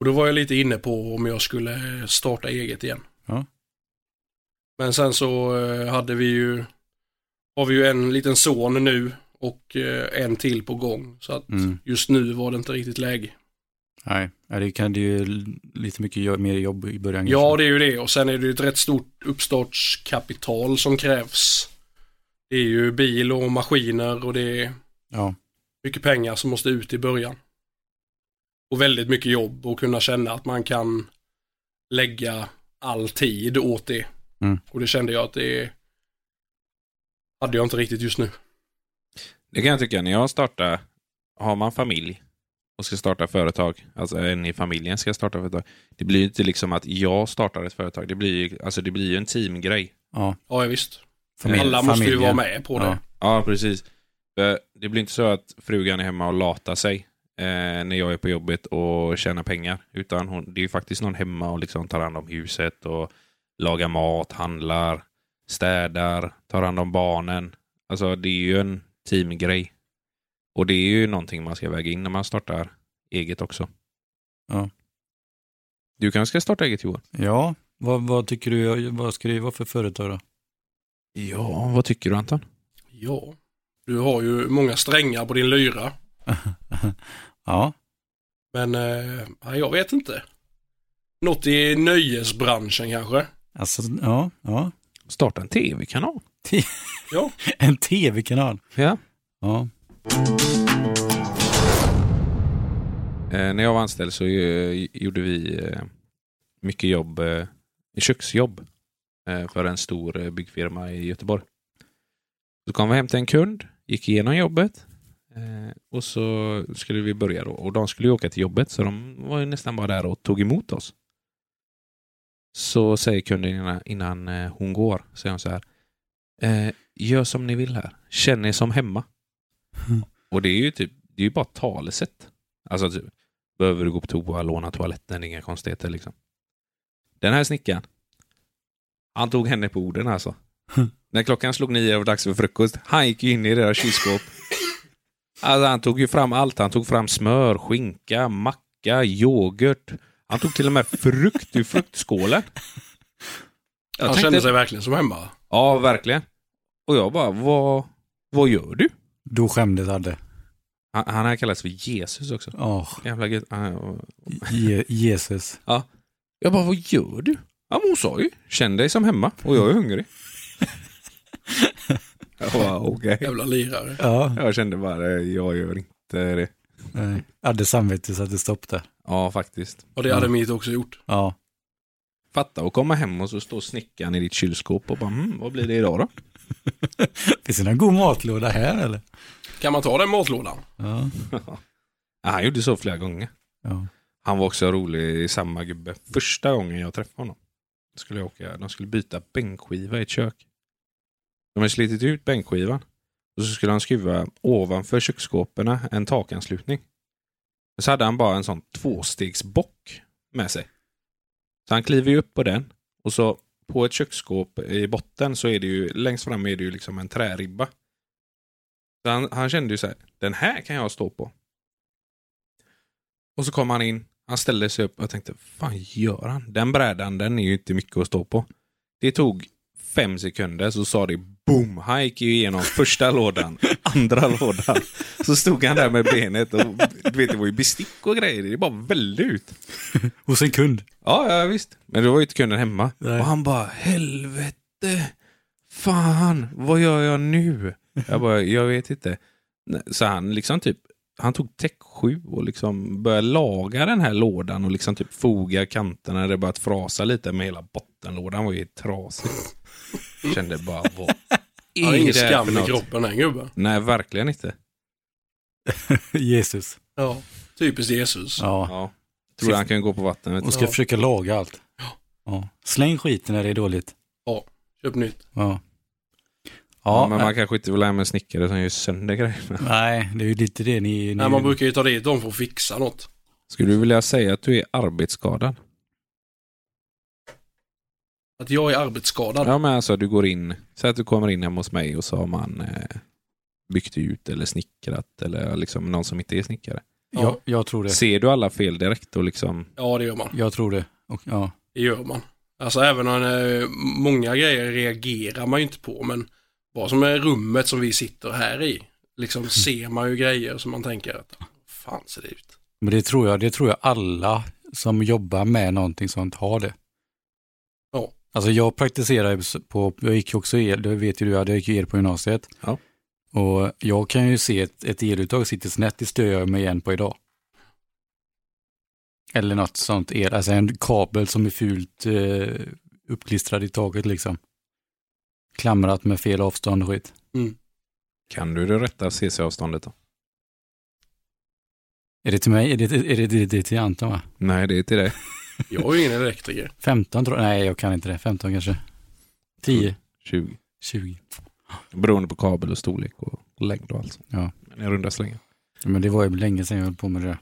Och då var jag lite inne på om jag skulle eh, starta eget igen.
Ja.
Men sen så eh, hade vi ju, har vi ju en liten son nu och eh, en till på gång. Så att
Mm.
just nu var det inte riktigt läge.
Nej, Ja, det kan det är ju lite mycket jo- mer jobb i början.
Ja,
kanske.
det är ju det. Och sen är det ju ett rätt stort uppstartskapital som krävs. Det är ju bil och maskiner och det är
ja.
mycket pengar som måste ut i början. Och väldigt mycket jobb och kunna känna att man kan lägga all tid åt det.
Mm.
Och det kände jag att det hade jag inte riktigt just nu.
Det kan jag tycka, när jag startar, har man familj och ska starta företag, alltså en i familjen ska starta företag, det blir ju inte liksom att jag startar ett företag, det blir ju alltså det blir ju en teamgrej.
ja.
Ja, ja, visst.
Familj-
Alla måste ju
familjen.
vara med på det.
Ja.
Ja, precis. För Det blir inte så att frugan är hemma och latar sig eh, när jag är på jobbet och tjänar pengar, utan hon, det är ju faktiskt någon hemma och liksom tar hand om huset och lagar mat, handlar, städar, tar hand om barnen. Alltså det är ju en teamgrej. Och det är ju någonting man ska väga in när man startar eget också.
Ja.
Du kanske ska starta eget Johan?
ja. Vad, vad tycker du, vad ska det vara för företag då?
Ja, vad tycker du Anton?
Ja. Du har ju många strängar på din lyra.
ja,
Men eh, nej, jag vet inte. Något i nöjesbranschen kanske.
alltså ja, ja.
Starta en tv-kanal.
En tv-kanal.
Ja.
Ja,
Eh, när jag var anställd så eh, gjorde vi eh, mycket jobb, eh, köksjobb eh, för en stor eh, byggfirma i Göteborg. Så kom vi hem till en kund, gick igenom jobbet eh, och så skulle vi börja då. Och de skulle ju åka till jobbet så de var ju nästan bara där och tog emot oss. Så säger kunden innan, innan eh, hon går, säger hon så här. Eh, gör som ni vill här, känn er som hemma.
Mm.
Och det är ju typ, det är ju bara talesätt. Alltså typ, behöver du gå på toa, låna toaletten, inga konstigheter liksom. Den här snickaren, han tog henne på orden alltså. När klockan slog nio och dags för frukost, han gick ju in i deras kylskåp. Alltså han tog ju fram allt. Han tog fram smör, skinka, macka, yoghurt. Han tog till och med frukt ur fruktskålen. Jag
Han
tänkte-
kände sig verkligen som hemma.
Ja, verkligen. Och jag bara, vad, vad gör du?
då skämdes hade.
Han, han här kallas för Jesus också.
Ja,
Jävla gud. Han-
Je- Jesus.
Jag bara, vad gör du? Ja, men hon sa ju, känn dig som hemma och jag är hungrig. jag bara, okej.
Jävla lirare.
Ja,
Jag kände bara, eh, jag gör inte det.
nej. hade samvete så att det stopp där.
Ja, faktiskt.
Och det hade mitt också gjort.
Ja,
Fatta att komma hem och så står snickaren i ditt kylskåp och bara, mm, vad blir det idag då?
finns det någon god matlåda här eller?
Kan man ta den matlådan?
Ja,
Ja, han gjorde så flera gånger.
ja.
Han var också rolig, samma gubbe. Första gången jag träffade honom skulle jag åka, de skulle byta bänkskiva i ett kök. De hade slitit ut bänkskivan och så skulle han skruva ovanför köksskåpen en takanslutning. Så hade han bara en sån tvåstegsbock med sig. Så han kliver ju upp på den och så på ett köksskåp i botten så är det ju längst fram är det ju liksom en träribba. Så han, han kände ju så här, den här kan jag stå på. Och så kom han in, han ställde sig upp och jag tänkte, fan gör han? Den brädan, den är ju inte mycket att stå på. Det tog fem sekunder så sa det boom, han gick ju igenom första lådan, andra lådan. Så stod han där med benet och du vet, det var ju bestick och grejer, det bara vällde ut.
Hos en kund.
Ja, ja visst. Men det var ju inte kunden hemma.
Nej.
Och han bara, helvete. Fan, vad gör jag nu? Jag bara, jag vet inte. Nej, Så han liksom typ, han tog täck 7 och liksom började laga den här lådan och liksom typ foga kanterna. Det börjat frasa lite med hela bottenlådan var ju trasig. Kände bara, vad
Han har ingen
det här
skam
för
i
något?
kroppen den gubben.
Nej, verkligen inte.
Jesus.
Ja. Typiskt Jesus.
Ja,
Ja. Tror jag han kan gå på vattnet.
Och ska
Ja.
försöka laga allt. Ja. Släng skiten när det är dåligt.
Köp nytt.
Ja.
Ja,
Ja,
men man kanske inte vill ha med en snickare som gör sönder grejerna.
nej, det är ju lite det ni... ni
Nej, man brukar ju ta dit dem för att fixa något.
Skulle du vilja säga att du är arbetsskadad?
Att jag är arbetsskadad.
Ja, men alltså du går in, säg att du kommer in hemma hos mig och så har man eh, byggt ut eller snickrat eller liksom någon som inte är snickare.
jag, jag tror det.
Ser du alla fel direkt och liksom,
Ja, det gör man.
Jag tror det. Och, ja.
Det gör man. Alltså även om eh, många grejer reagerar man ju inte på, men vad som är rummet som vi sitter här i,
Mm.
liksom ser man ju grejer som man tänker att fan ser det ut?
Men det tror jag, det tror jag alla som jobbar med någonting sånt har det.
Ja.
Alltså jag praktiserar ju på, jag gick ju också el, det vet ju du, jag gick ju el på gymnasiet.
Ja.
Och jag kan ju se ett, ett eluttag sitter snett, det stör jag mig igen på idag. Eller något sånt el, alltså en kabel som är fult eh, uppklistrad i taket liksom. Klamrat med fel avstånd och skit.
Mm. kan du det rätta CC-avståndet då?
Är det till mig? Är det, är det, är det, det är till Anton va?
Nej, det är till dig.
Jag är ju ingen elektriker.
15 tror jag, nej jag kan inte det, 15 kanske. 10,
20.
20.
Beroende på kabel och storlek och längd och allt sånt.
Ja.
Men i runda slängar.
Ja, Men det var ju länge sedan jag höll på med det där.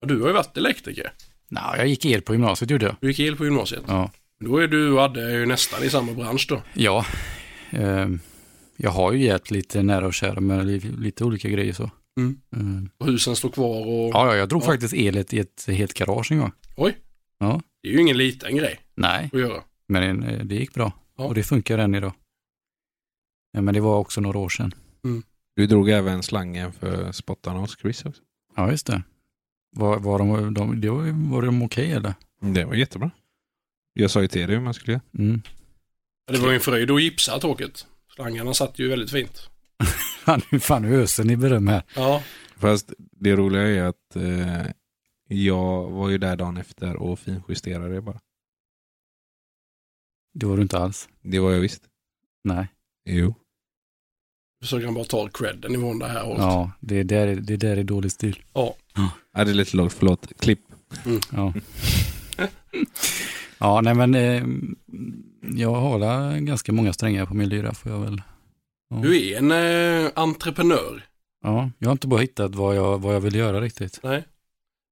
Ja, Du har ju varit elektriker.
Nej, jag gick el på gymnasiet gjorde jag.
Du gick el på gymnasiet.
Ja.
Då är du och Adde ju nästan i samma bransch då.
ja. Ehm, jag har ju gett lite nära och kära med li- lite olika grejer så.
Mm.
Ehm,
Och husen står kvar och
Ja, ja, jag drog
Ja.
faktiskt elet i ett helt garage en gång.
det är ju ingen liten grej
Nej,
att göra.
men eh, det gick bra.
Ja.
Och det funkar än idag. Ja, men det var också några år sedan.
Du drog även slangen för spottarna hos Chris också.
Ja, just det. Var, var de, de, det var, var de okej eller?
Det var jättebra. Jag sa ju till dig hur man skulle göra.
Mm.
Ja, Det var ju en fröjd att gipsa taket. Slangarna satt ju väldigt fint.
Fan, nu fan öser ni beröm här.
Ja,
Fast det roliga är att eh, jag var ju där dagen efter och finjusterade det bara.
Det var du inte alls.
Det var jag visst.
Nej.
Jo.
försöker han bara ta credden ifrån det här hållet.
Ja, det där, är- det där är dålig stil.
Ja, det är lite lågt, förlåt. Klipp.
Ja. ja, nej men eh, jag har la ganska många strängar på min lyra får jag väl. Ja.
Du är en eh, entreprenör.
ja, jag har inte bara hittat vad jag, vad jag vill göra riktigt.
Nej.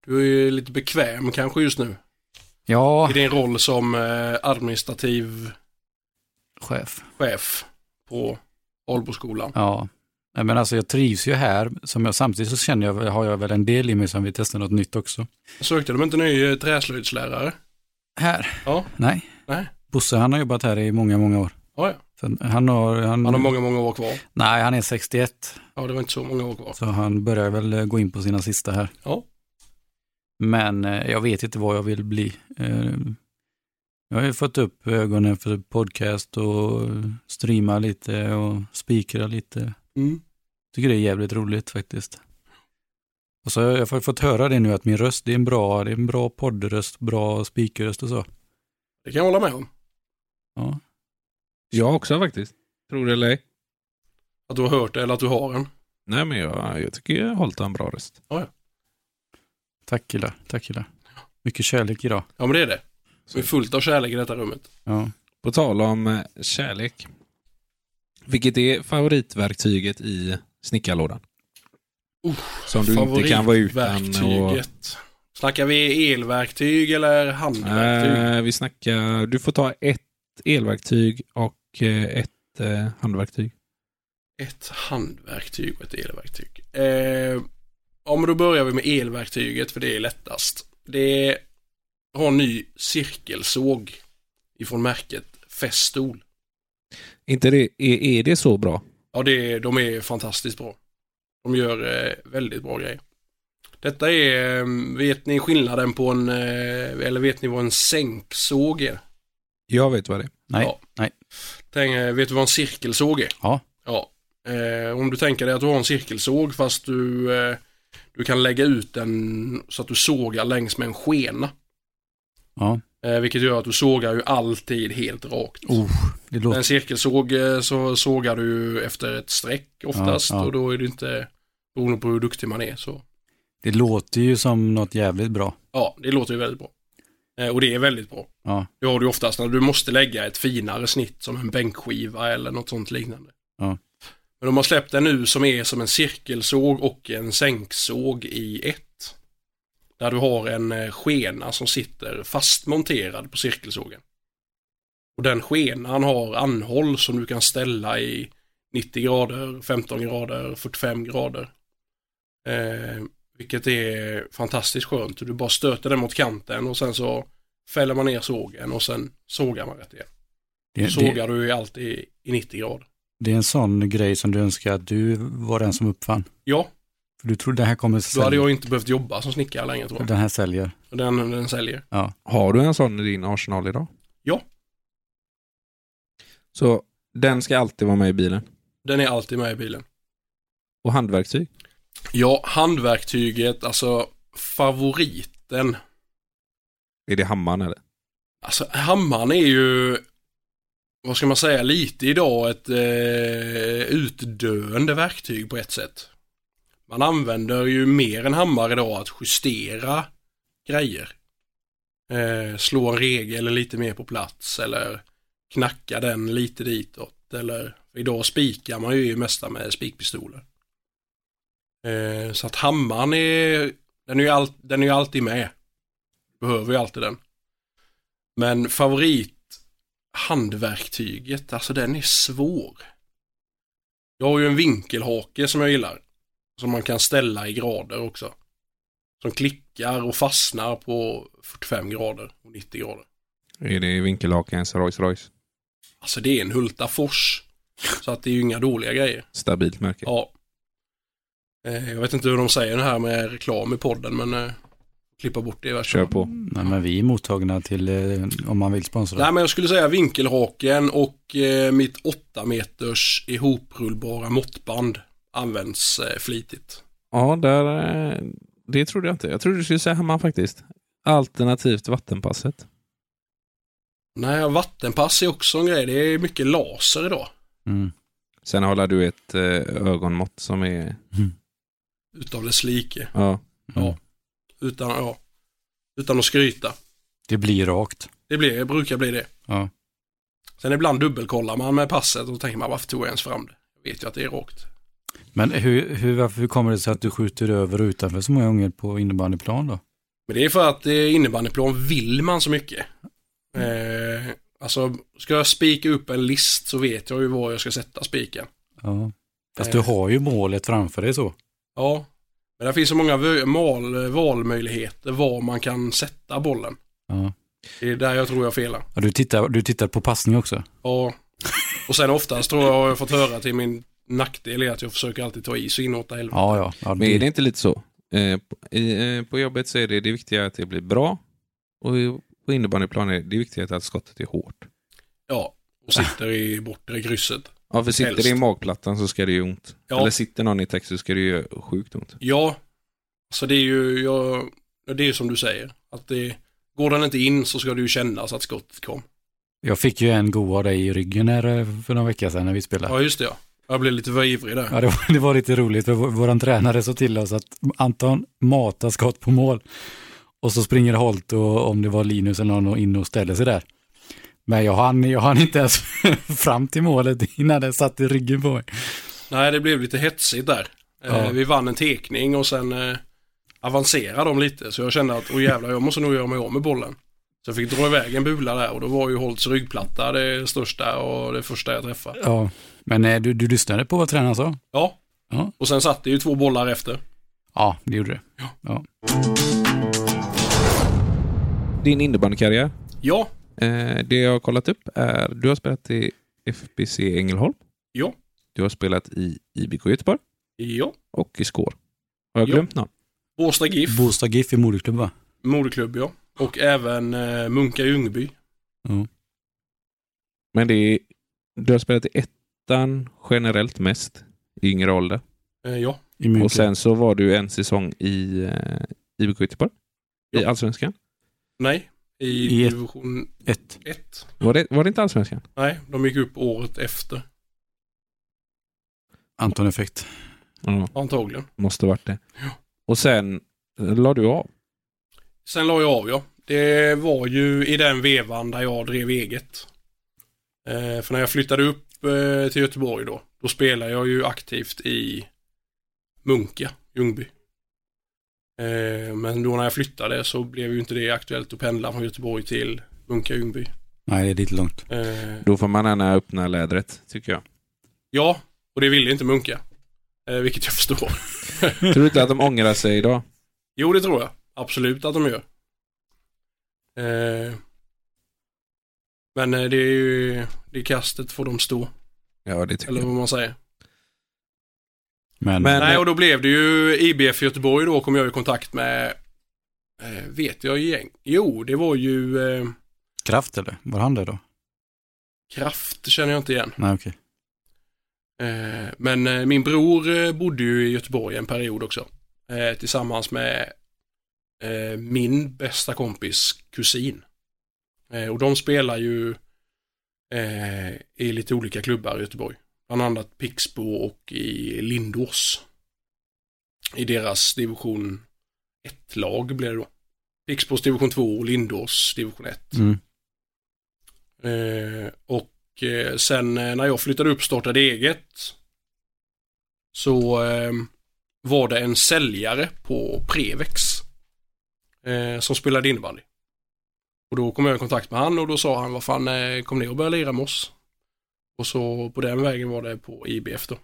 Du är ju lite bekväm kanske just nu.
Ja,
I din roll som eh, administrativ
chef.
chef på Alboskolan.
Ja, nej, men alltså jag trivs ju här. Som jag, samtidigt så känner jag, har jag väl en del i mig som vill testa något nytt också.
Sökte de inte ny eh, träslöjdslärare?
Här?
Ja.
Nej.
Nej.
Bosse han har jobbat här i många, många år.
Ja, ja.
Sen, han, har, han,
Han har många, många år kvar.
Nej, han är 61.
Ja, det var inte så många år kvar.
Så han börjar väl eh, gå in på sina sista här.
Ja.
Men eh, jag vet inte vad jag vill bli. Eh, Jag har ju fått upp ögonen för podcast och streama lite och spikra lite.
Mm.
Tycker det är jävligt roligt faktiskt. Och så har jag fått- fått höra det nu att min röst, det är en bra, det är en bra poddröst, bra spikröst och så.
Det kan jag hålla med om.
Ja,
Jag också faktiskt. Tror det eller ej.
Att du har hört det eller att du har en.
Nej, men jag, jag tycker jag har hållit en bra röst.
tack killar, tack killar. Mycket kärlek idag.
Ja, men det är det.
Så.
Det är fullt av kärlek i detta rummet.
Ja.
På tal om eh, kärlek. Vilket är favoritverktyget i snickarlådan?
Oh,
Som du inte kan vara utan. Och,
Favoritverktyget. Snackar vi elverktyg eller handverktyg?
Eh, vi snackar, du får ta ett elverktyg och eh, ett eh, handverktyg.
Ett handverktyg och ett elverktyg. Eh, om då börjar vi med elverktyget för det är lättast. Det har en ny cirkelsåg ifrån märket Festool.
Inte det, är, är det så bra?
Ja, det, de är fantastiskt bra. De gör eh, väldigt bra grejer. Detta är, eh, vet ni skillnaden på en, eh, eller vet ni vad en sänksåg är?
Jag vet vad det är.
Nej,
Ja.
nej.
Tänk, eh, vet du vad en cirkelsåg är?
Ja.
ja. Eh, om du tänker dig att du har en cirkelsåg fast du, eh, du kan lägga ut den så att du sågar längs med en skena.
Ja,
Eh, vilket gör att du sågar ju alltid helt rakt.
oh, det
Med
låter...
en cirkelsåg eh, så sågar du efter ett streck oftast
Ja, ja.
och då är det inte beroende på hur duktig man är så.
Det låter ju som något jävligt bra.
Ja, det låter ju väldigt bra. Eh, Och det är väldigt bra.
Ja.
Det har du oftast när du måste lägga ett finare snitt som en bänkskiva eller något sånt liknande.
Ja.
Men de har släppt en nu som är som en cirkelsåg och en sänksåg i ett. Där du har en eh, skena som sitter fast monterad på cirkelsågen. Och den skenan har anhåll som du kan ställa i 90 grader, 15 grader, 45 grader. Eh, vilket är fantastiskt skönt. Du bara stöter den mot kanten och sen så fäller man ner sågen och sen sågar man rätt igen.
Det, det,
Sågar du ju alltid i 90 grader.
det är en sån grej som du önskar att du var den som uppfann.
Ja,
För du tror det här kommer
då hade
sälja.
jag inte behövt jobba som snickare längre tror jag.
Den här säljer.
Den, den säljer.
Har du en sån i din arsenal idag?
Ja.
Så den ska alltid vara med i bilen?
Den är alltid med i bilen.
Och handverktyg?
Ja, handverktyget, alltså favoriten.
Är det hammaren eller?
Alltså hammaren är ju, vad ska man säga, lite idag ett eh, utdöende verktyg på ett sätt. Man använder ju mer än hammare idag att justera grejer. Eh, slå en regel lite mer på plats eller knacka den lite ditåt. Eller, idag spikar man ju mesta med spikpistoler. Eh, så att hammaren är, den är ju all, den är ju alltid med. Behöver ju alltid den. Men favorit handverktyget, alltså den är svår. Jag har ju en vinkelhake som jag gillar. Som man kan ställa i grader också. Som klickar och fastnar på 45 grader och 90 grader.
Är det vinkelhakens Rolls Royce?
Alltså det är en Hultafors. Så att det är ju inga dåliga grejer.
Stabilt märke.
Ja. Eh, Jag vet inte hur de säger det här med reklam i podden men eh, klippa bort det i värsta
Kör på.
Nej, men vi är mottagna till eh, om man vill sponsra.
Nej men jag skulle säga vinkelhaken och eh, mitt 8 meters ihoprullbara måttband används eh, flitigt.
Ja, där, eh, det trodde jag inte. Jag trodde du skulle säga hammaren faktiskt. Alternativt vattenpasset.
Nej, vattenpass är också en grej. Det är mycket laser idag.
Mm.
Sen håller du ett eh, ögonmått som är...
Utav dess like.
Ja.
Mm.
Utan, ja, utan att skryta.
Det blir rakt.
Det blir, det brukar bli det.
Ja.
Sen ibland dubbelkollar man med passet och tänker man varför tog jag ens fram det? Jag vet ju att det är rakt.
Men hur, hur, varför hur kommer det sig att du skjuter över och utanför så många gånger på innebandyplan då?
Men det är för att eh, innebandyplan vill man så mycket. Eh, alltså, ska jag spika upp en list så vet jag ju var jag ska sätta spiken.
Ja. Fast
Eh.
du har ju målet framför dig så.
Ja, men det finns så många vö- mal, valmöjligheter var man kan sätta bollen.
Ja.
Det är där jag tror jag felar.
Ja, du, tittar, du tittar på passning också?
Ja. Och sen oftast tror jag har jag fått höra till min nackdel är att jag försöker alltid ta i så inåt helvete.
Ja, ja. ja
Men är det inte lite så? Eh, på, i, eh, på jobbet så är det, det viktiga att det blir bra. Och i- på innebandyplan är det viktiga att skottet är hårt.
Ja, och sitter i bortre krysset.
Ja, för sitter
Helst.
det i magplattan så ska det ju ont.
Ja.
Eller sitter någon i text så ska det ju göra sjukt ont.
Ja, så det är ju jag, ja, det är som du säger. Att det, går den inte in så ska det ju kännas att skottet kom.
Jag fick ju en god av dig i ryggen här eh, för några veckor sedan när vi spelade.
Ja, just det ja. Jag blev lite för ivrig där.
Ja, det var, det var lite roligt för vår, våran tränare sa till oss att Anton matar skott på mål och så springer Holt och om det var Linus eller någon in och ställer sig där. Men jag hann, jag hann inte ens fram till målet innan det satt i ryggen på mig.
Nej, det blev lite hetsigt där. Eh,
Ja.
Vi vann en tekning och sen eh, avancerade de lite. Så jag kände att, åh jävlar, jag måste nog göra mig av med bollen. Så jag fick dra iväg en bula där och då var ju Holts ryggplatta det största och det första jag träffade.
Ja, men eh, du, du lyssnade på vad tränaren sa?
Ja.
Ja.
Och sen satt det ju två bollar efter.
Ja, det gjorde det.
Din innebandykarriär,
Ja,
eh, det jag har kollat upp är du har spelat i FBC Ängelholm.
Ja.
Du har spelat i IBK Göteborg
ja.
och i Skår. Har jag
Ja.
glömt någon?
Båstad GIF,
Båstad GIF i moderklubb va?
moderklubb ja. Och även eh, Munka Ljungby.
Men det är, du har spelat i ettan generellt mest, i yngre ålder.
Eh, ja,
I München.
Och sen så var du en säsong i eh, IBK Göteborg, i
Ja.
Allsvenskan.
nej. I
I ett-
division
Ett.
1.
Var det, var det inte Allsvenskan?
Nej, de gick upp året efter.
Anton-effekt.
Ja,
Antagligen.
måste varit det.
Ja.
Och sen la du av.
sen la jag av ja. Det var ju i den vevan där jag drev eget. Eh, för när jag flyttade upp eh, till Göteborg då, då spelade jag ju aktivt i Munka, Ljungby. Eh, men då när jag flyttade så blev ju inte det aktuellt att pendla från Göteborg till Munka, Ljungby.
Nej, det är lite långt.
Eh,
Då får man gärna öppna lädret, tycker jag.
ja, och det ville inte Munka. Eh, vilket jag förstår.
Tror du inte att de ångrar sig idag?
Jo, det tror jag. Absolut att de gör. Eh, men eh, det är ju, det kastet får de stå,
Ja, det tycker
eller vad man säger.
Men,
Men-
Nej, och då blev det ju IBF Göteborg då kom jag i kontakt med, eh, vet jag gäng? Jo, det var ju eh,
Kraft eller? Var han det då?
Kraft, känner jag inte igen.
Nej, okej.
Eh, men eh, min bror eh, bodde ju i Göteborg en period också. Eh, tillsammans med eh, min bästa kompis kusin. Eh, och de spelar ju eh, i lite olika klubbar i Göteborg. Bland annat Pixbo och i Lindås. I deras division 1-lag blev det då. Pixbos division 2 och Lindås division 1.
Mm.
Eh, och eh, sen eh, när jag flyttade upp startade eget så eh, var det en säljare på Prevex eh, som spelade innebandy. Och då kom jag i kontakt med han och då sa han vad fan eh, kom ner och börja lira med oss. Och så på den vägen var det på IBF då.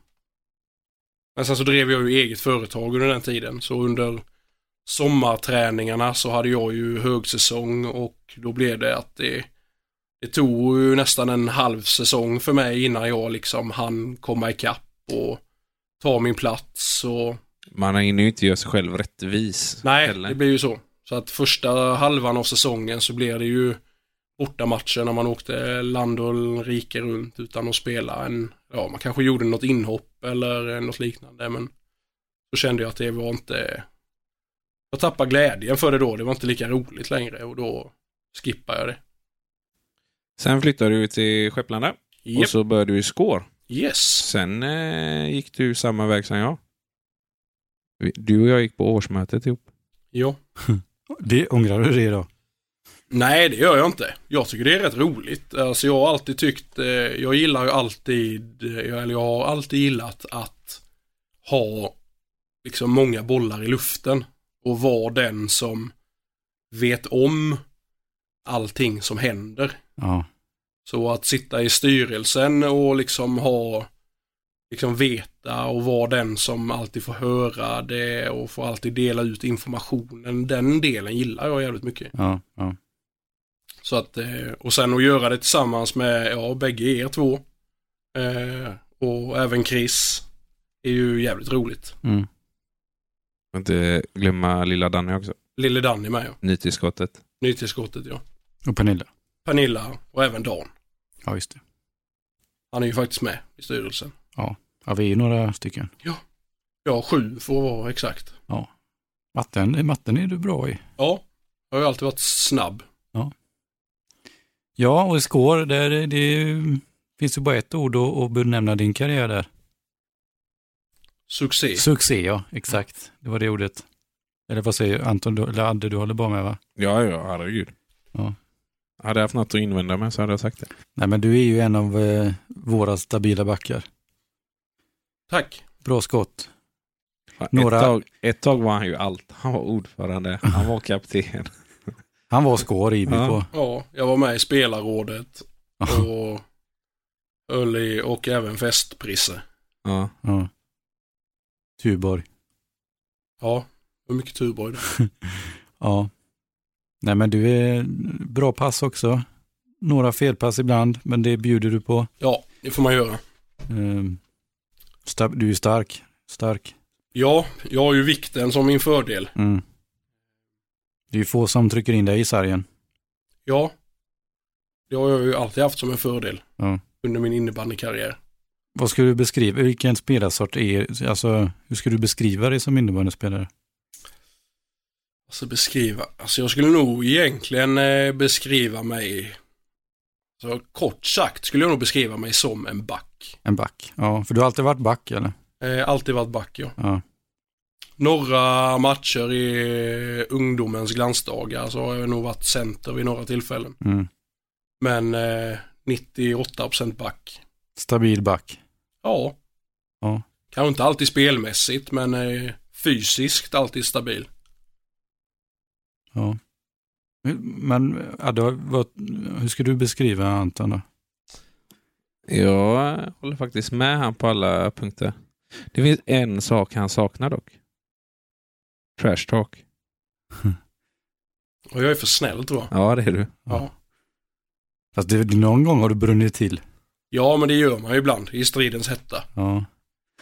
Men sen så drev jag ju eget företag under den tiden så under sommarträningarna så hade jag ju högsäsong och då blev det att det det tog ju nästan en halv säsong för mig innan jag liksom hann komma ikapp och ta min plats och
Man hinner ju inte göra sig själv rättvis.
nej,
heller.
det blir ju så. Så att första halvan av säsongen så blev det ju bortamatcher när man åkte land och rike runt utan att spela en, ja man kanske gjorde något inhopp eller något liknande men då kände jag att det var inte, jag tappade glädjen för det då, det var inte lika roligt längre och då skippade jag det.
Sen flyttade du till Skepplanda och
Japp,
så började du i Skår.
Yes.
Sen eh, gick du samma väg som jag. Vi- Du och jag gick på årsmötet ihop.
Ja.
Det ångrar du dig då?
Nej, det gör jag inte. Jag tycker det är rätt roligt. Alltså jag har alltid tyckt, eh, jag gillar ju alltid, eh, jag- eller jag har alltid gillat att ha liksom många bollar i luften och vara den som vet om allting som händer.
Ja.
Så att sitta i styrelsen och liksom ha, liksom veta och vara den som alltid får höra det och får alltid dela ut informationen. Den delen gillar jag jävligt mycket.
Ja, ja.
Så att, eh, och sen att göra det tillsammans med, ja, bägge er två. Eh, och även Chris. Är ju jävligt roligt.
Mm.
Får inte glömma lilla Danny också.
Lille Danny med ja.
Nytillskottet.
Nytillskottet ja.
Och Pernilla?
Pernilla och även Dan.
Ja, just det.
Han är ju faktiskt med i styrelsen.
Ja, vi är ju några stycken.
Ja, sju för att vara exakt.
Matten, matten är du bra i.
Ja, jag har ju alltid varit snabb.
Ja, och i skår, där är det ju- finns ju bara ett ord att att benämna din karriär där.
Succé.
Succé, ja. Exakt. Det var det ordet. Eller vad säger Anton, du- eller Adde, du håller bara med va?
Ja, ja, herregud.
Ja.
Hade jag haft något att invända med så hade jag sagt det.
Nej, men du är ju en av eh, våra stabila backar.
Tack.
Bra skott.
Fan,
Några-
Ett, tag, ett tag var han ju allt. Han var ordförande, han var kapten.
Han var skår i IBK.
Ja.
Ja, jag var med i spelarrådet
Ja.
och höll i och även festprisse.
Ja.
ja. Tuborg.
Ja, det var mycket Tuborg.
Ja. Nej, men du är bra pass också. Några felpass ibland, men det bjuder du på.
Ja, det får man göra.
Ehm, sta- Du är stark. Stark.
Ja, jag har ju vikten som min fördel.
Mm. Det är ju få som trycker in dig i sargen.
Ja. Det har jag ju alltid haft som en fördel.
Ja.
Under min innebandykarriär.
Vad skulle du beskriva, vilken spelarsort är, alltså hur skulle du beskriva dig som innebandyspelare?
Alltså beskriva, alltså jag skulle nog egentligen eh, beskriva mig, så kort sagt skulle jag nog beskriva mig som en back.
En back? Ja, för du har alltid varit back eller?
Eh, alltid varit back ja.
Ja.
några matcher i eh, ungdomens glansdagar så har jag nog varit center vid några tillfällen.
Mm.
Men eh, 98% back.
Stabil back.
Ja.
Ja.
Kanske inte alltid spelmässigt men eh, fysiskt alltid stabil.
Ja. Men ja, det har varit, hur ska du beskriva Anton då?
Jag håller faktiskt med han på alla punkter. Det finns en sak han saknar dock. Trash talk.
Och jag är för snäll tror jag.
Ja, det är du.
Ja.
Fast det, någon gång har du brunnit till.
Ja men det gör man ju ibland i stridens hetta.
Ja.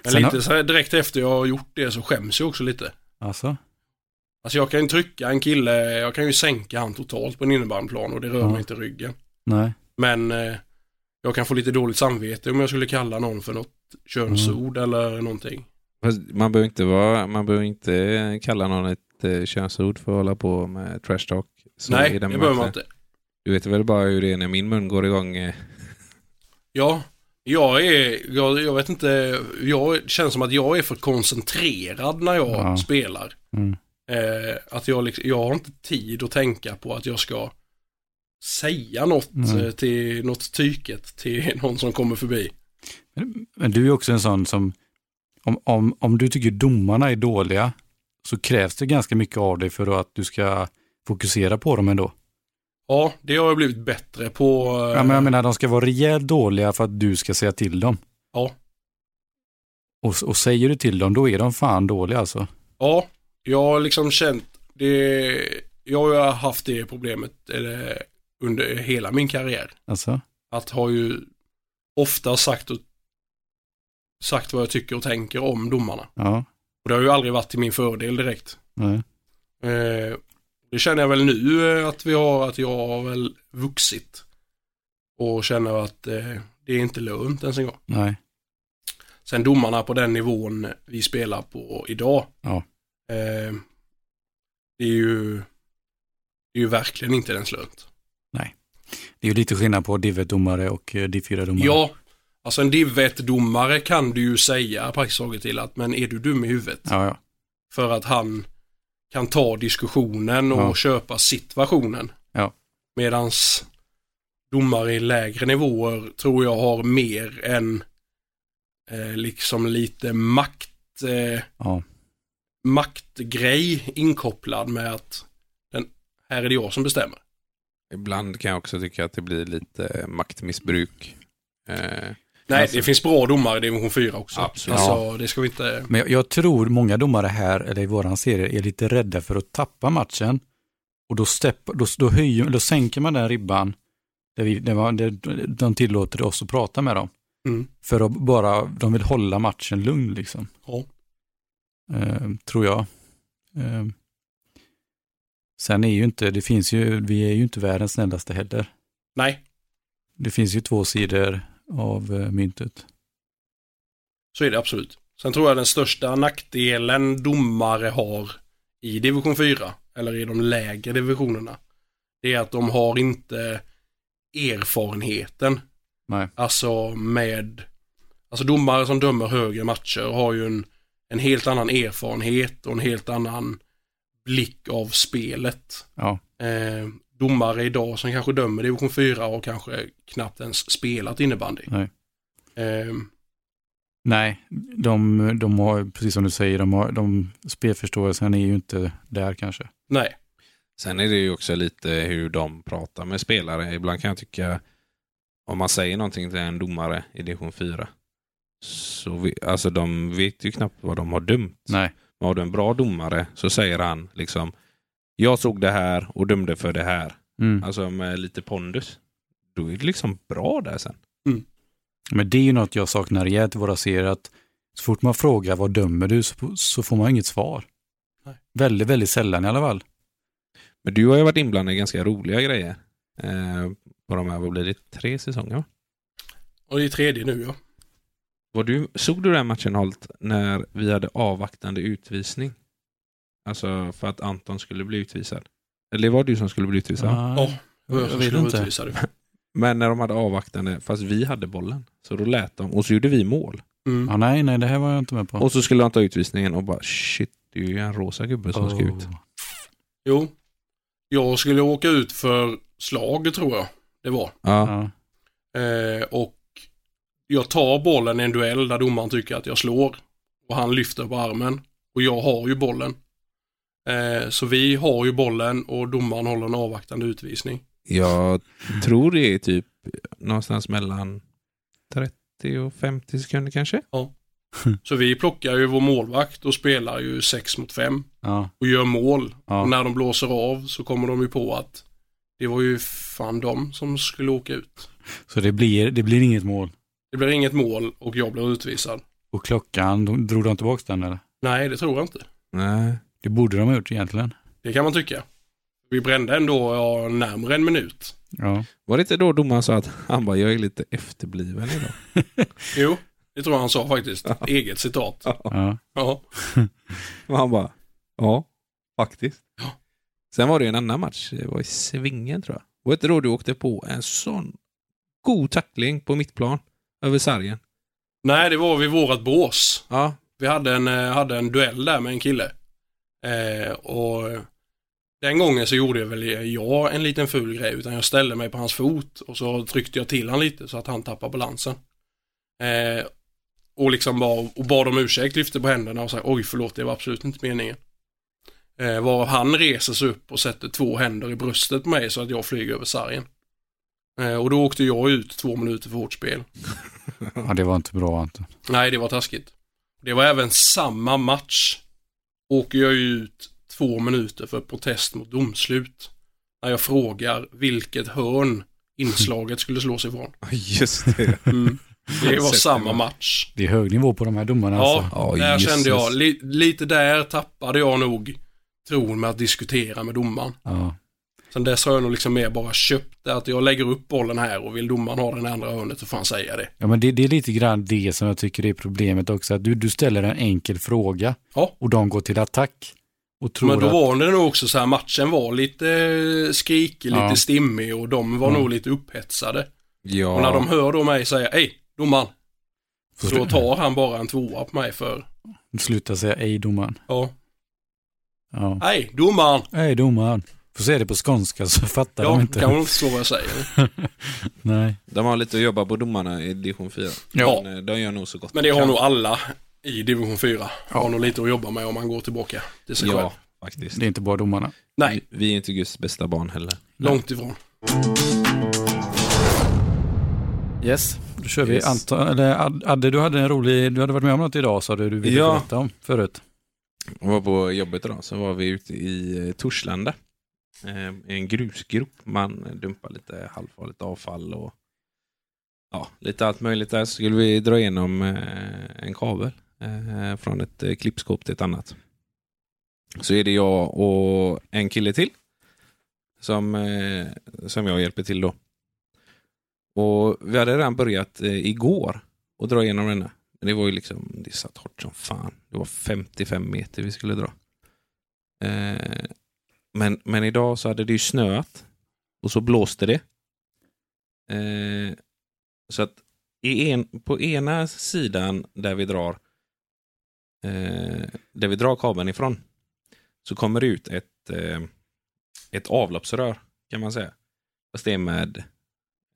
Men
Sen har-
lite så här, direkt efter jag har gjort det så skäms jag också lite.
Alltså?
Alltså jag kan ju trycka en kille, jag kan ju sänka han totalt på en innebandyplan och det rör
Ja.
mig inte i ryggen.
Nej.
Men eh, jag kan få lite dåligt samvete om jag skulle kalla någon för något könsord eller någonting.
Fast Man behöver inte, vara, man behöver inte kalla någon ett eh, könsord för att hålla på med trash talk. Så
Nej,
i
det
den
behöver man
bemärkelsen.
inte.
Du vet väl bara hur det är när min mun går igång. eh.
Ja, jag är, jag, jag vet inte, jag det känns som att jag är för koncentrerad när jag
Ja.
spelar.
Mm.
Eh, att jag, liksom, jag har inte tid att tänka på att jag ska säga något,
Nej.
eh, till, något tyket till någon som kommer förbi.
Men du är också en sån som, om, om, om du tycker domarna är dåliga så krävs det ganska mycket av dig för att du ska fokusera på dem ändå.
Ja, det har jag blivit bättre på. eh,
Ja, men jag menar, de ska vara rejält dåliga för att du ska säga till dem.
Ja.
Och, och säger du till dem, då är de fan dåliga alltså.
Ja, jag har liksom känt det. Jag har haft det problemet eller, under hela min karriär.
Alltså,
Att ha ju ofta sagt, och, sagt vad jag tycker och tänker om domarna.
ja.
Och det har ju aldrig varit till min fördel direkt.
Nej.
Eh, det känner jag väl nu eh, att vi har, att jag har väl vuxit. Och känner att eh, det är inte lönt ens en gång.
Nej.
Sen domarna på den nivån vi spelar på idag.
Ja.
Eh, det är ju det är ju verkligen inte ens lönt.
Det är ju lite skillnad på div domare och eh, div 4-domare.
Ja, alltså en div 1-domare kan du ju säga praktiskt taget till att men är du dum i huvudet?
Ja, ja.
För att han kan ta diskussionen och
Ja.
köpa situationen.
Ja.
Medans domare i lägre nivåer tror jag har mer än eh, liksom lite makt eh,
ja.
maktgrej inkopplad med att den, här är det jag som bestämmer.
Ibland kan jag också tycka att det blir lite eh, maktmissbruk. Eh,
Nej,
Alltså-
det finns bra domare i division 4 också.
Absolut.
Alltså, det ska vi inte...
Men jag, jag tror många domare här, eller i våran serie, är lite rädda för att tappa matchen. Och då, stepp, då, då, höjer, då sänker man den ribban där, vi, där, man, där de tillåter oss att prata med dem.
Mm.
För att bara, de vill hålla matchen lugn liksom.
Ja.
Ehm, tror jag. Ehm. sen är ju inte, det finns ju, vi är ju inte världens snällaste heller.
Nej,
Det finns ju två sidor av eh, myntet.
så är det absolut. Sen tror jag den största nackdelen domare har i division 4, eller i de lägre divisionerna, det är att de har inte erfarenheten.
Nej.
Alltså med... Alltså domare som dömer högre matcher har ju en, en helt annan erfarenhet och en helt annan blick av spelet.
Ja.
eh, domare idag som kanske dömer division 4 och kanske knappt ens spelat innebandy.
Nej.
Eh,
Nej, de, de har, precis som du säger, de har, de, spelförståelsen är ju inte där kanske.
nej,
Sen är det ju också lite hur de pratar med spelare. Ibland kan jag tycka, om man säger någonting till en domare i division 4, så vi, alltså de vet ju knappt vad de har dömt.
Nej.
Men har du en bra domare så säger han liksom, jag såg det här och dömde för det här.
Mm.
Alltså med lite pondus. Då är det liksom bra där sen.
Men det är ju något jag saknar rejält i våra serier, att så fort man frågar vad dömer du så, så får man inget svar.
Nej.
Väldigt, väldigt sällan i alla fall.
Men du har ju varit inblandad i ganska roliga grejer. Eh, på de här, vad blir det, tre säsonger? va?
och det är tredje nu ja.
Var du, såg du den matchen Holt när vi hade avvaktande utvisning? Alltså för att Anton skulle bli utvisad. Eller det var du som skulle bli utvisad.
Ja.
Ja,
jag
som
vet
skulle
inte.
utvisa det.
Men när de hade avvaktande, fast vi hade bollen. Så då lät de och så gjorde vi mål.
Mm.
Ja, nej, nej, det här var jag inte med på.
Och så skulle de ta utvisningen och bara shit, Det är ju en rosa gubbe som ska ut.
Oh.
Jo. Jag skulle åka ut för slag tror jag det var.
Ja,
Ja.
Eh, och jag tar bollen i en duell där domaren tycker att jag slår. Och han lyfter på armen. Och jag har ju bollen. Eh, så vi har ju bollen och domaren håller en avvaktande utvisning.
jag tror det är typ någonstans mellan 30 och 50 sekunder kanske.
Så vi plockar ju vår målvakt och spelar ju 6 mot 5
Ja.
och gör mål.
Ja.
Och när de blåser av så kommer de ju på att det var ju fan de som skulle åka ut.
Så det blir, det blir inget mål.
Det blir inget mål och jag blir utvisad.
Och klockan, de- drog de tillbaka den eller?
Nej, det tror jag inte.
Nej.
Det borde de ha gjort egentligen.
Det kan man tycka. Vi brände ändå ja, närmare en minut.
Ja.
Var det inte då domaren sa att han bara, jag är lite efterbliven idag?
Jo, det tror jag han sa faktiskt. Eget citat.
ja.
Ja,
Och han bara, ja, faktiskt.
Ja.
Sen var det ju en annan match, det var i Svingen tror jag. Var det inte då du åkte på en sån god tackling på mittplan över sargen?
Nej, det var vid vårat bås.
Ja,
Vi hade en, eh, hade en duell där med en kille. Eh, och den gången så gjorde jag väl jag en liten ful grej utan jag ställde mig på hans fot och så tryckte jag till han lite så att han tappade balansen. Eh, och liksom bara, och bad om ursäkt, lyfte på händerna och sa oj förlåt det var absolut inte meningen. Eh, varav han reser sig upp och sätter två händer i bröstet på mig så att jag flyger över sargen. Eh, och då åkte jag ut två minuter för hårt spel.
ja, det var inte bra Anton.
Nej, det var taskigt. Det var även samma match. Åker jag ut två minuter för protest mot domslut. När jag frågar vilket hörn inslaget skulle slås ifrån.
just det.
Mm. Det var
Sätter
samma
man.
match.
Det är hög nivå på de här domarna
Ja,
alltså.
Ja,
där
Jesus.
kände jag, li, lite där tappade jag nog tron med att diskutera med domaren.
Ja.
Sen dess har jag nog liksom mer bara köpt det att jag lägger upp bollen här och vill domaren ha den i andra hörnet så får han säga det.
ja, men det, det är lite grann det som jag tycker är problemet också. Att du, du ställer en enkel fråga
Ja.
och de går till attack. Och tror
Men då
att,
var det nog också så här, matchen var lite eh, skrikig,
Ja.
lite stimmig och de var
Ja.
nog lite upphetsade.
Ja.
Och när de hör då mig säga, hej domaren,
Förstår-
då tar han bara en tvåa på mig för,
Sluta säga ej domaren.
ja,
Ja.
hej domaren,
Ej domaren. Får säga det på skånska så fattar
ja,
de
kan
inte.
man inte förstå vad jag säger.
Nej.
De har lite att jobba på domarna i division 4.
Ja.
Men eh, de gör nog så gott
Men det
de
har
kan.
nog alla i division 4. Har nog lite att jobba med om man går tillbaka till sig själv.
Ja, faktiskt.
Det är inte bara domarna.
Nej,
Vi är inte Guds bästa barn heller.
långt ifrån.
Yes, då kör vi.
Yes.
Anton, eller Ad- Adde, du hade en rolig, du hade varit med om något idag sa du, du ville
Ja.
berätta om förut.
Jag var på jobbet idag, så var vi ute i eh, Torslanda. Eh, i En grusgrop. Man dumpar lite halvfarligt avfall och ja, lite allt möjligt där. Så skulle vi dra igenom eh, en kabel eh, från ett eh, klippskåp till ett annat. Så är det jag och en kille till som, eh, som jag hjälper till då. Och vi hade redan börjat eh, igår och dra igenom den här. Men det var ju liksom, det satt hårt som fan. Det var 55 meter vi skulle dra. Eh, men, men idag så hade det ju snöat och så blåste det. Eh, så att i en, på ena sidan där vi drar eh, där vi drar kabeln ifrån så kommer det ut ett, eh, ett avloppsrör kan man säga. Fast det är med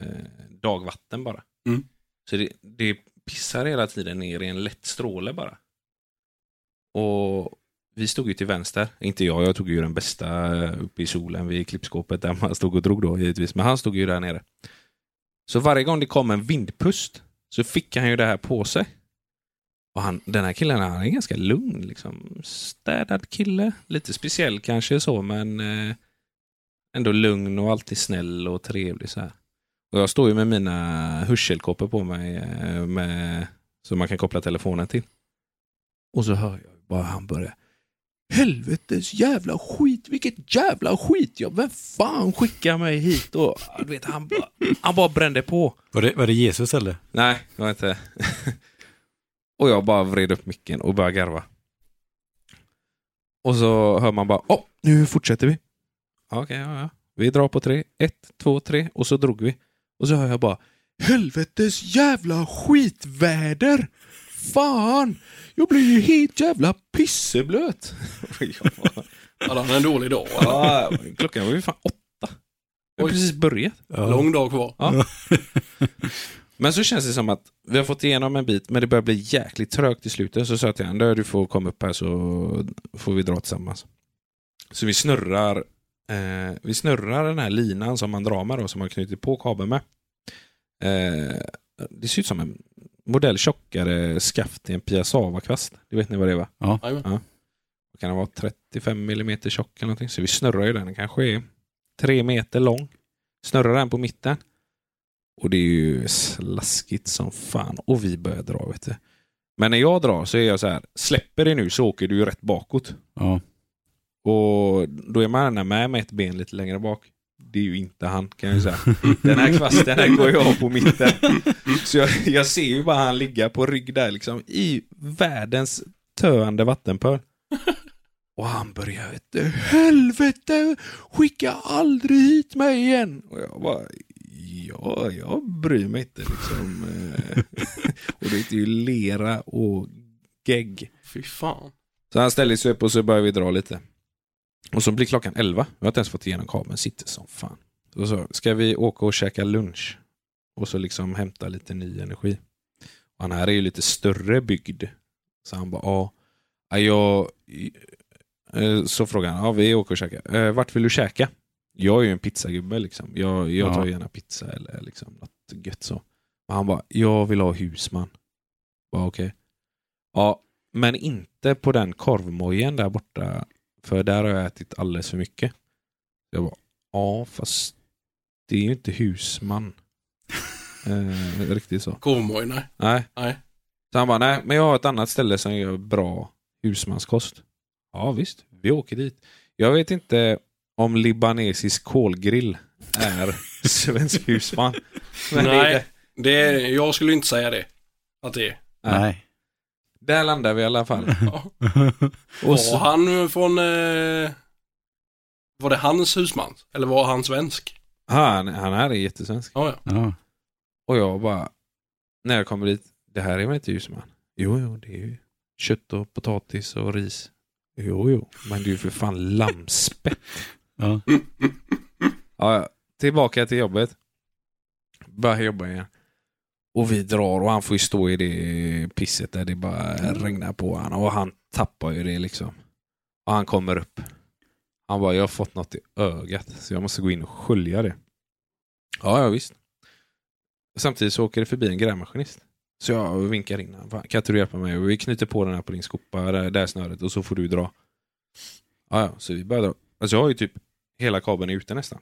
eh, dagvatten bara.
Mm.
Så det, det pissar hela tiden ner i en lätt stråle bara. Och vi stod ju till vänster, inte jag, jag tog ju den bästa eh, uppe i solen vid klippskåpet där man stod och drog då givetvis, men han stod ju där nere. Så varje gång det kom en vindpust så fick han ju det här på sig. Och han, den här killen, han är ganska lugn, liksom städad kille. Lite speciell kanske så, men eh, ändå lugn och alltid snäll och trevlig så här. Och jag står ju med mina hörselkåpor på mig eh, med, som man kan koppla telefonen till. Och så hör jag bara han börjar. Helvetes jävla skit, vilket jävla skit. Ja, vem fan skickar mig hit? Och, du vet, han, bara- han bara brände på.
Var det, var det Jesus eller?
Nej, det var inte. och jag bara vred upp micken och började garva. Och så hör man bara, åh, nu fortsätter vi. Ja, Okej, ja, ja. Vi drar på tre. Ett, två, tre och så drog vi. Och så hör jag bara, helvetes jävla skitväder! fan! Jag blir ju helt jävla pisseblöt. Jag bara,
Hade han en dålig dag? eller?
"Ah, Klockan var ju fan åtta. Jag har
Oj.
precis börjat.
Ja.
Lång dag kvar.
Men så känns det som att vi har fått igenom en bit men det börjar bli jäkligt trögt i slutet. Så sa jag till henne, du får komma upp här så får vi dra tillsammans. Så vi snurrar, eh, vi snurrar den här linan som man drar med då, som man knutit på kabeln med. Eh, det ser ut som en modell tjockare skaft i en piassavakvast. Det vet ni vad det är va?
Jajamän.
Kan den vara 35 mm tjock eller någonting? Så vi snurrar ju den, den kanske är tre meter lång. Snurrar den på mitten. Och det är ju slaskigt som fan. Och vi börjar dra vet du. Men när jag drar så är jag så här, släpper det nu så åker du ju rätt bakåt.
Ja.
Och då är man gärna med med ett ben lite längre bak. Det är ju inte han kan jag ju säga. Den här kvasten här går jag av på mitten. Så jag, jag ser ju bara han ligga på rygg där liksom i världens töande vattenpöl. Och han börjar, vet du, helvete, skicka aldrig hit mig igen. Och jag bara, ja, jag bryr mig inte liksom. Eh, och det är ju lera och gegg.
Fy fan.
Så han ställer sig upp och så börjar vi dra lite. Och så blir klockan 11. Jag har inte ens fått igenom kabeln. Sitter som fan. Och så ska vi åka och käka lunch. Och så liksom hämta lite ny energi. Och han här är ju lite större byggd. Så han bara, ja. ja, Jag... eh, Så frågar han, ja vi åker och käkar. Eh, Vart vill du käka? Jag är ju en pizzagubbe liksom. Jag, jag tar
Ja.
gärna pizza eller liksom något gött så. Och han bara, jag vill ha husman. Bara okej. Ja, men inte på den korvmojen där borta. För där har jag ätit alldeles för mycket. Jag bara, ja fast det är ju inte husman. eh, riktigt så.
Korvmoj, nej.
Nej.
Nej.
Så han bara, nej men jag har ett annat ställe som gör bra husmanskost. Ja visst, vi åker dit. Jag vet inte om libanesisk kolgrill är svensk husman. Men det är
Nej.
det.
Det är, jag skulle inte säga det. Att det är.
Nej.
Där landar vi i alla fall.
Ja.
Och så,
Var han från... Eh, var det hans husman? Eller var han svensk?
han, han här är jättesvensk.
Ja, ja.
ja.
Och jag bara, när jag kommer dit, det här är väl inte husman? Jo, jo, det är ju kött och potatis och ris. Jo, jo, men det är ju för fan lammspett.
Ja.
Ja, ja. tillbaka till jobbet. Börjar jobba igen. Och vi drar och han får ju stå i det pisset där det bara regnar på han Och han tappar ju det liksom. Och han kommer upp. Han bara, jag har fått något i ögat så jag måste gå in och skölja det. Ja, ja visst. Samtidigt så åker det förbi en grävmaskinist. Så jag vinkar in honom. Kan inte du hjälpa mig? Vi knyter på den här på din skopa, det där snöret och så får du dra. Ja, ja, så vi börjar dra. Alltså jag har ju typ hela kabeln är ute nästan.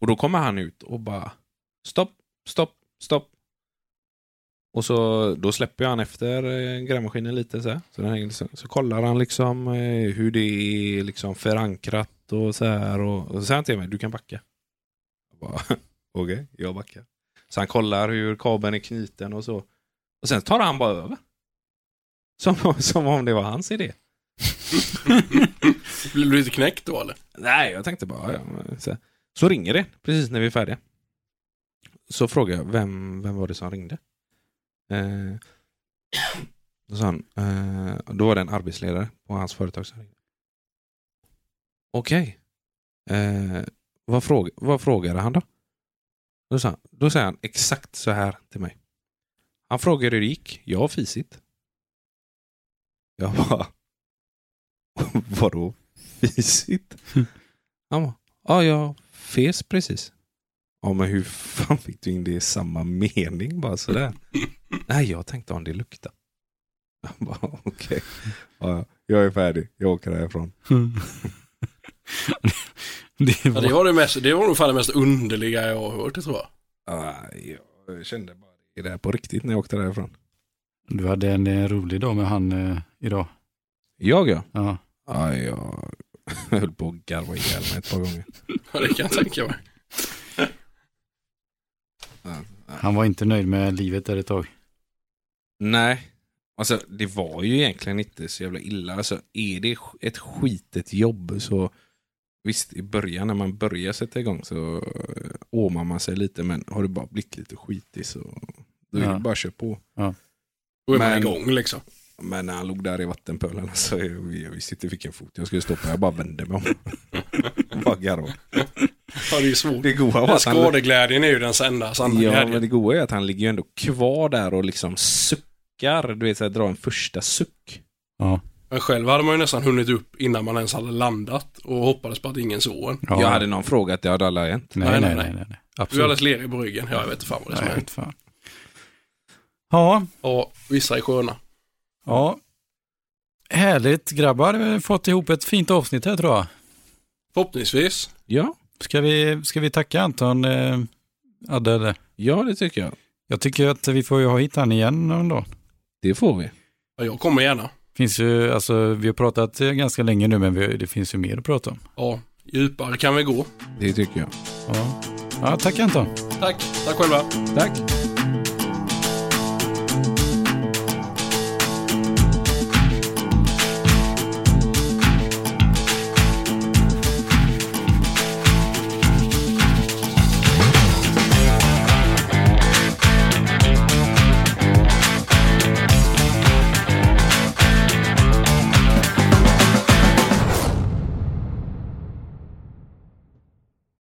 Och då kommer han ut och bara stopp, stopp, stopp. Och så då släpper jag han efter eh, grävmaskinen lite så här. Så, den hänger liksom, så kollar han liksom eh, hur det är liksom förankrat och så här. Och, och så säger han till mig, du kan backa. Jag bara, Okej, jag backar. Så han kollar hur kabeln är knuten och så. Och sen tar han bara över. Som, som om det var hans idé.
Blev du lite knäckt då eller?
Nej, jag tänkte bara... Ja, men så, här. så ringer det precis när vi är färdiga. Så frågar jag, vem, vem var det som ringde? Eh, då sa han, eh, då var det en arbetsledare på hans företag som ringde. Okej. Eh, vad, fråg, vad frågade han då? Då, sa han, då säger han exakt så här till mig. Han frågade hur det gick. Jag har fisit. Jag bara... Vadå fisit? Han bara, ja, jag fes precis. Ja, men hur fan fick du in det i samma mening bara sådär? Nej, jag tänkte om det luktar. Jag bara, okej. Ja, ja, jag är färdig. Jag åker härifrån.
det
Ja, det
var...
var det mest, det var nog fan det mest underliga jag har hört det tror jag.
Ja, jag kände bara, är det här på riktigt när jag åkte därifrån?
Du hade en eh, rolig dag med han eh, idag.
Jag ja.
Ja.
ja jag höll på att garva ihjäl mig ett par gånger.
Ja, det kan jag tänka mig.
Han var inte nöjd med livet där ett tag.
Nej, alltså det var ju egentligen inte så jävla illa. Alltså är det sk- ett skitet jobb så visst i början när man börjar sätta igång så eh, åmar man sig lite men har det bara blivit lite skitig så då är
Ja.
det bara att köra på.
Ja.
Då är man
Men-
igång liksom.
Men när han låg där i vattenpölen alltså, jag, jag visste inte vilken fot jag skulle stoppa. Jag bara vände mig om. bara garvade.
Ja, det är svårt.
Det goa var
Men
att han,
skadeglädjen är ju den enda sanna
ja, men
glädjen.
det goa är att han ligger ju ändå kvar där och liksom suckar. Du vet, så här, drar en första suck.
Ja.
Men själv hade man ju nästan hunnit upp innan man ens hade landat och hoppades på att ingen såg en.
Ja.
Jag hade någon fråga att det hade alla hänt.
nej, nej, nej, nej, nej.
Du är
Absolut.
alldeles lerig på ryggen. Ja, jag vet inte fan vad det är som
Nej,
hänt.
vet fan. Ja,
Ja, vissa är sköna.
ja. Härligt grabbar, vi har fått ihop ett fint avsnitt här tror jag.
Förhoppningsvis.
Ja,
Ska vi, ska vi tacka Anton eh, Adde? eller?
ja det tycker jag.
Jag tycker att vi får ju ha hit han igen någon dag.
Det får vi.
Ja, jag kommer gärna.
Finns ju, alltså, vi har pratat eh, ganska länge nu men vi, det finns ju mer att prata om.
Ja, djupare kan vi gå.
Det tycker jag.
Ja, ja tack Anton.
Tack, tack själva.
Tack.